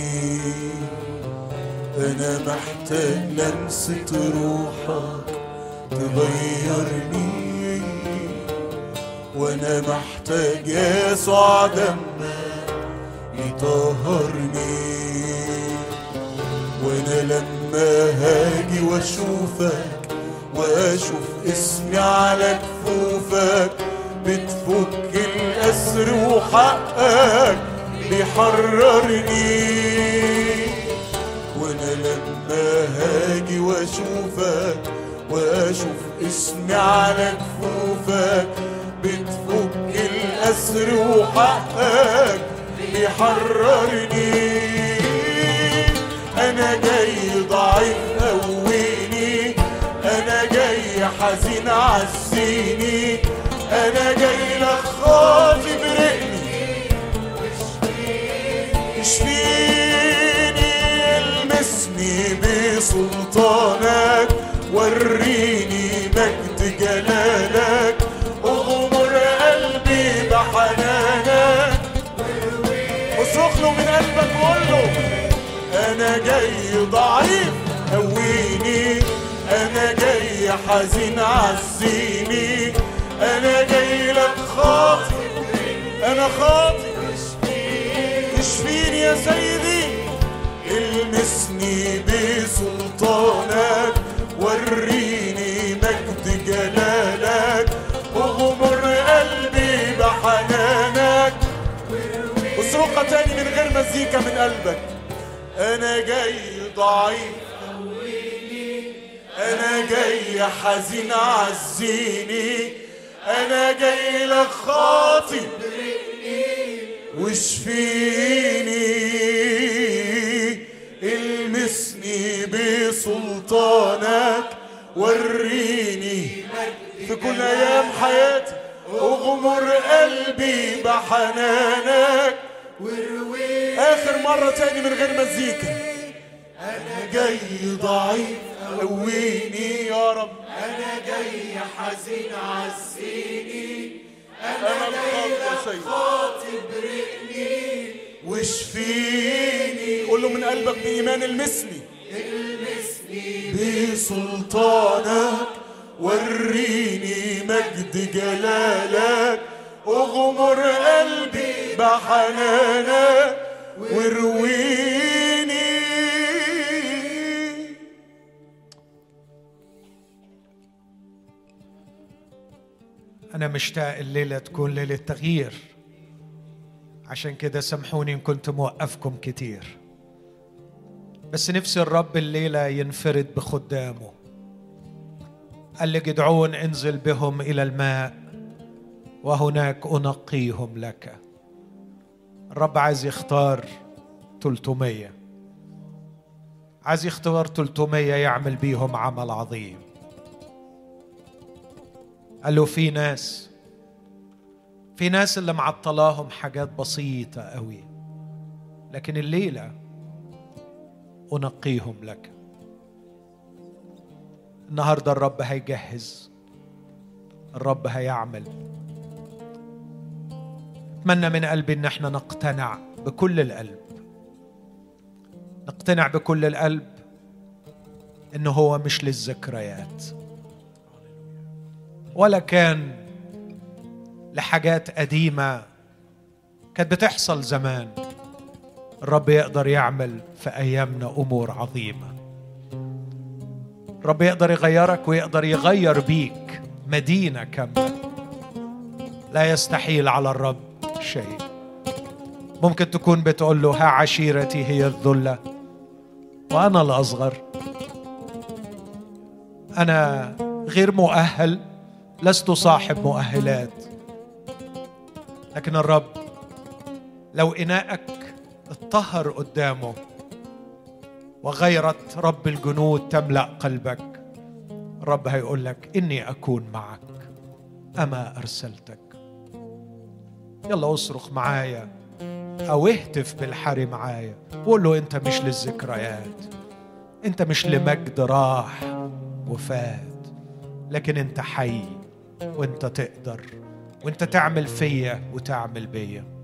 Speaker 4: أنا محتاج لمسة روحك تغيرني وأنا محتاج يسوع دمك يطهرني وانا لما هاجي واشوفك واشوف اسمي على كفوفك بتفك الاسر وحقك بيحررني وانا لما هاجي واشوفك واشوف اسمي على كفوفك بتفك الاسر وحقك بيحررني انا جاي ضعيف قويني انا جاي حزين عزيني انا جاي لك خاطي برقني اشفيني المسني بسلطانك وريني مجد جلالك اغمر قلبي جاي ضعيف قويني انا جاي حزين عزيني انا جاي لك خاطي انا خاطي اشفيني يا سيدي المسني بسلطانك وريني مجد جلالك اغمر قلبي بحنانك اصرخها تاني من غير مزيكا من قلبك انا جاي ضعيف انا جاي حزين عزيني انا جاي لك خاطي واشفيني المسني بسلطانك وريني في كل ايام حياتي اغمر قلبي بحنانك وارويني اخر مره تاني من غير مزيكا انا جاي ضعيف قويني يا رب انا جاي حزين عزيني انا جاي خاطب رقني واشفيني قول له من قلبك بايمان المسني المسني بسلطانك وريني مجد جلالك اغمر قلبي بحنانك وارويني
Speaker 3: أنا مشتاق الليلة تكون ليلة تغيير عشان كده سامحوني إن كنت موقفكم كتير بس نفسي الرب الليلة ينفرد بخدامه قال لجدعون انزل بهم إلى الماء وهناك أنقيهم لك الرب عايز يختار 300 عايز يختار 300 يعمل بيهم عمل عظيم قال له في ناس في ناس اللي معطلاهم حاجات بسيطة قوي لكن الليلة أنقيهم لك النهاردة الرب هيجهز الرب هيعمل أتمنى من قلبي إن احنا نقتنع بكل القلب نقتنع بكل القلب إن هو مش للذكريات ولا كان لحاجات قديمة كانت بتحصل زمان الرب يقدر يعمل في أيامنا أمور عظيمة الرب يقدر يغيرك ويقدر يغير بيك مدينة كاملة لا يستحيل على الرب شيء ممكن تكون بتقول له ها عشيرتي هي الذلة وأنا الأصغر أنا غير مؤهل لست صاحب مؤهلات لكن الرب لو إناءك اتطهر قدامه وغيرت رب الجنود تملأ قلبك الرب هيقول لك إني أكون معك أما أرسلتك يلا اصرخ معايا أو اهتف بالحري معايا وقول له أنت مش للذكريات أنت مش لمجد راح وفات لكن انت حي وانت تقدر وانت تعمل فيا وتعمل بيا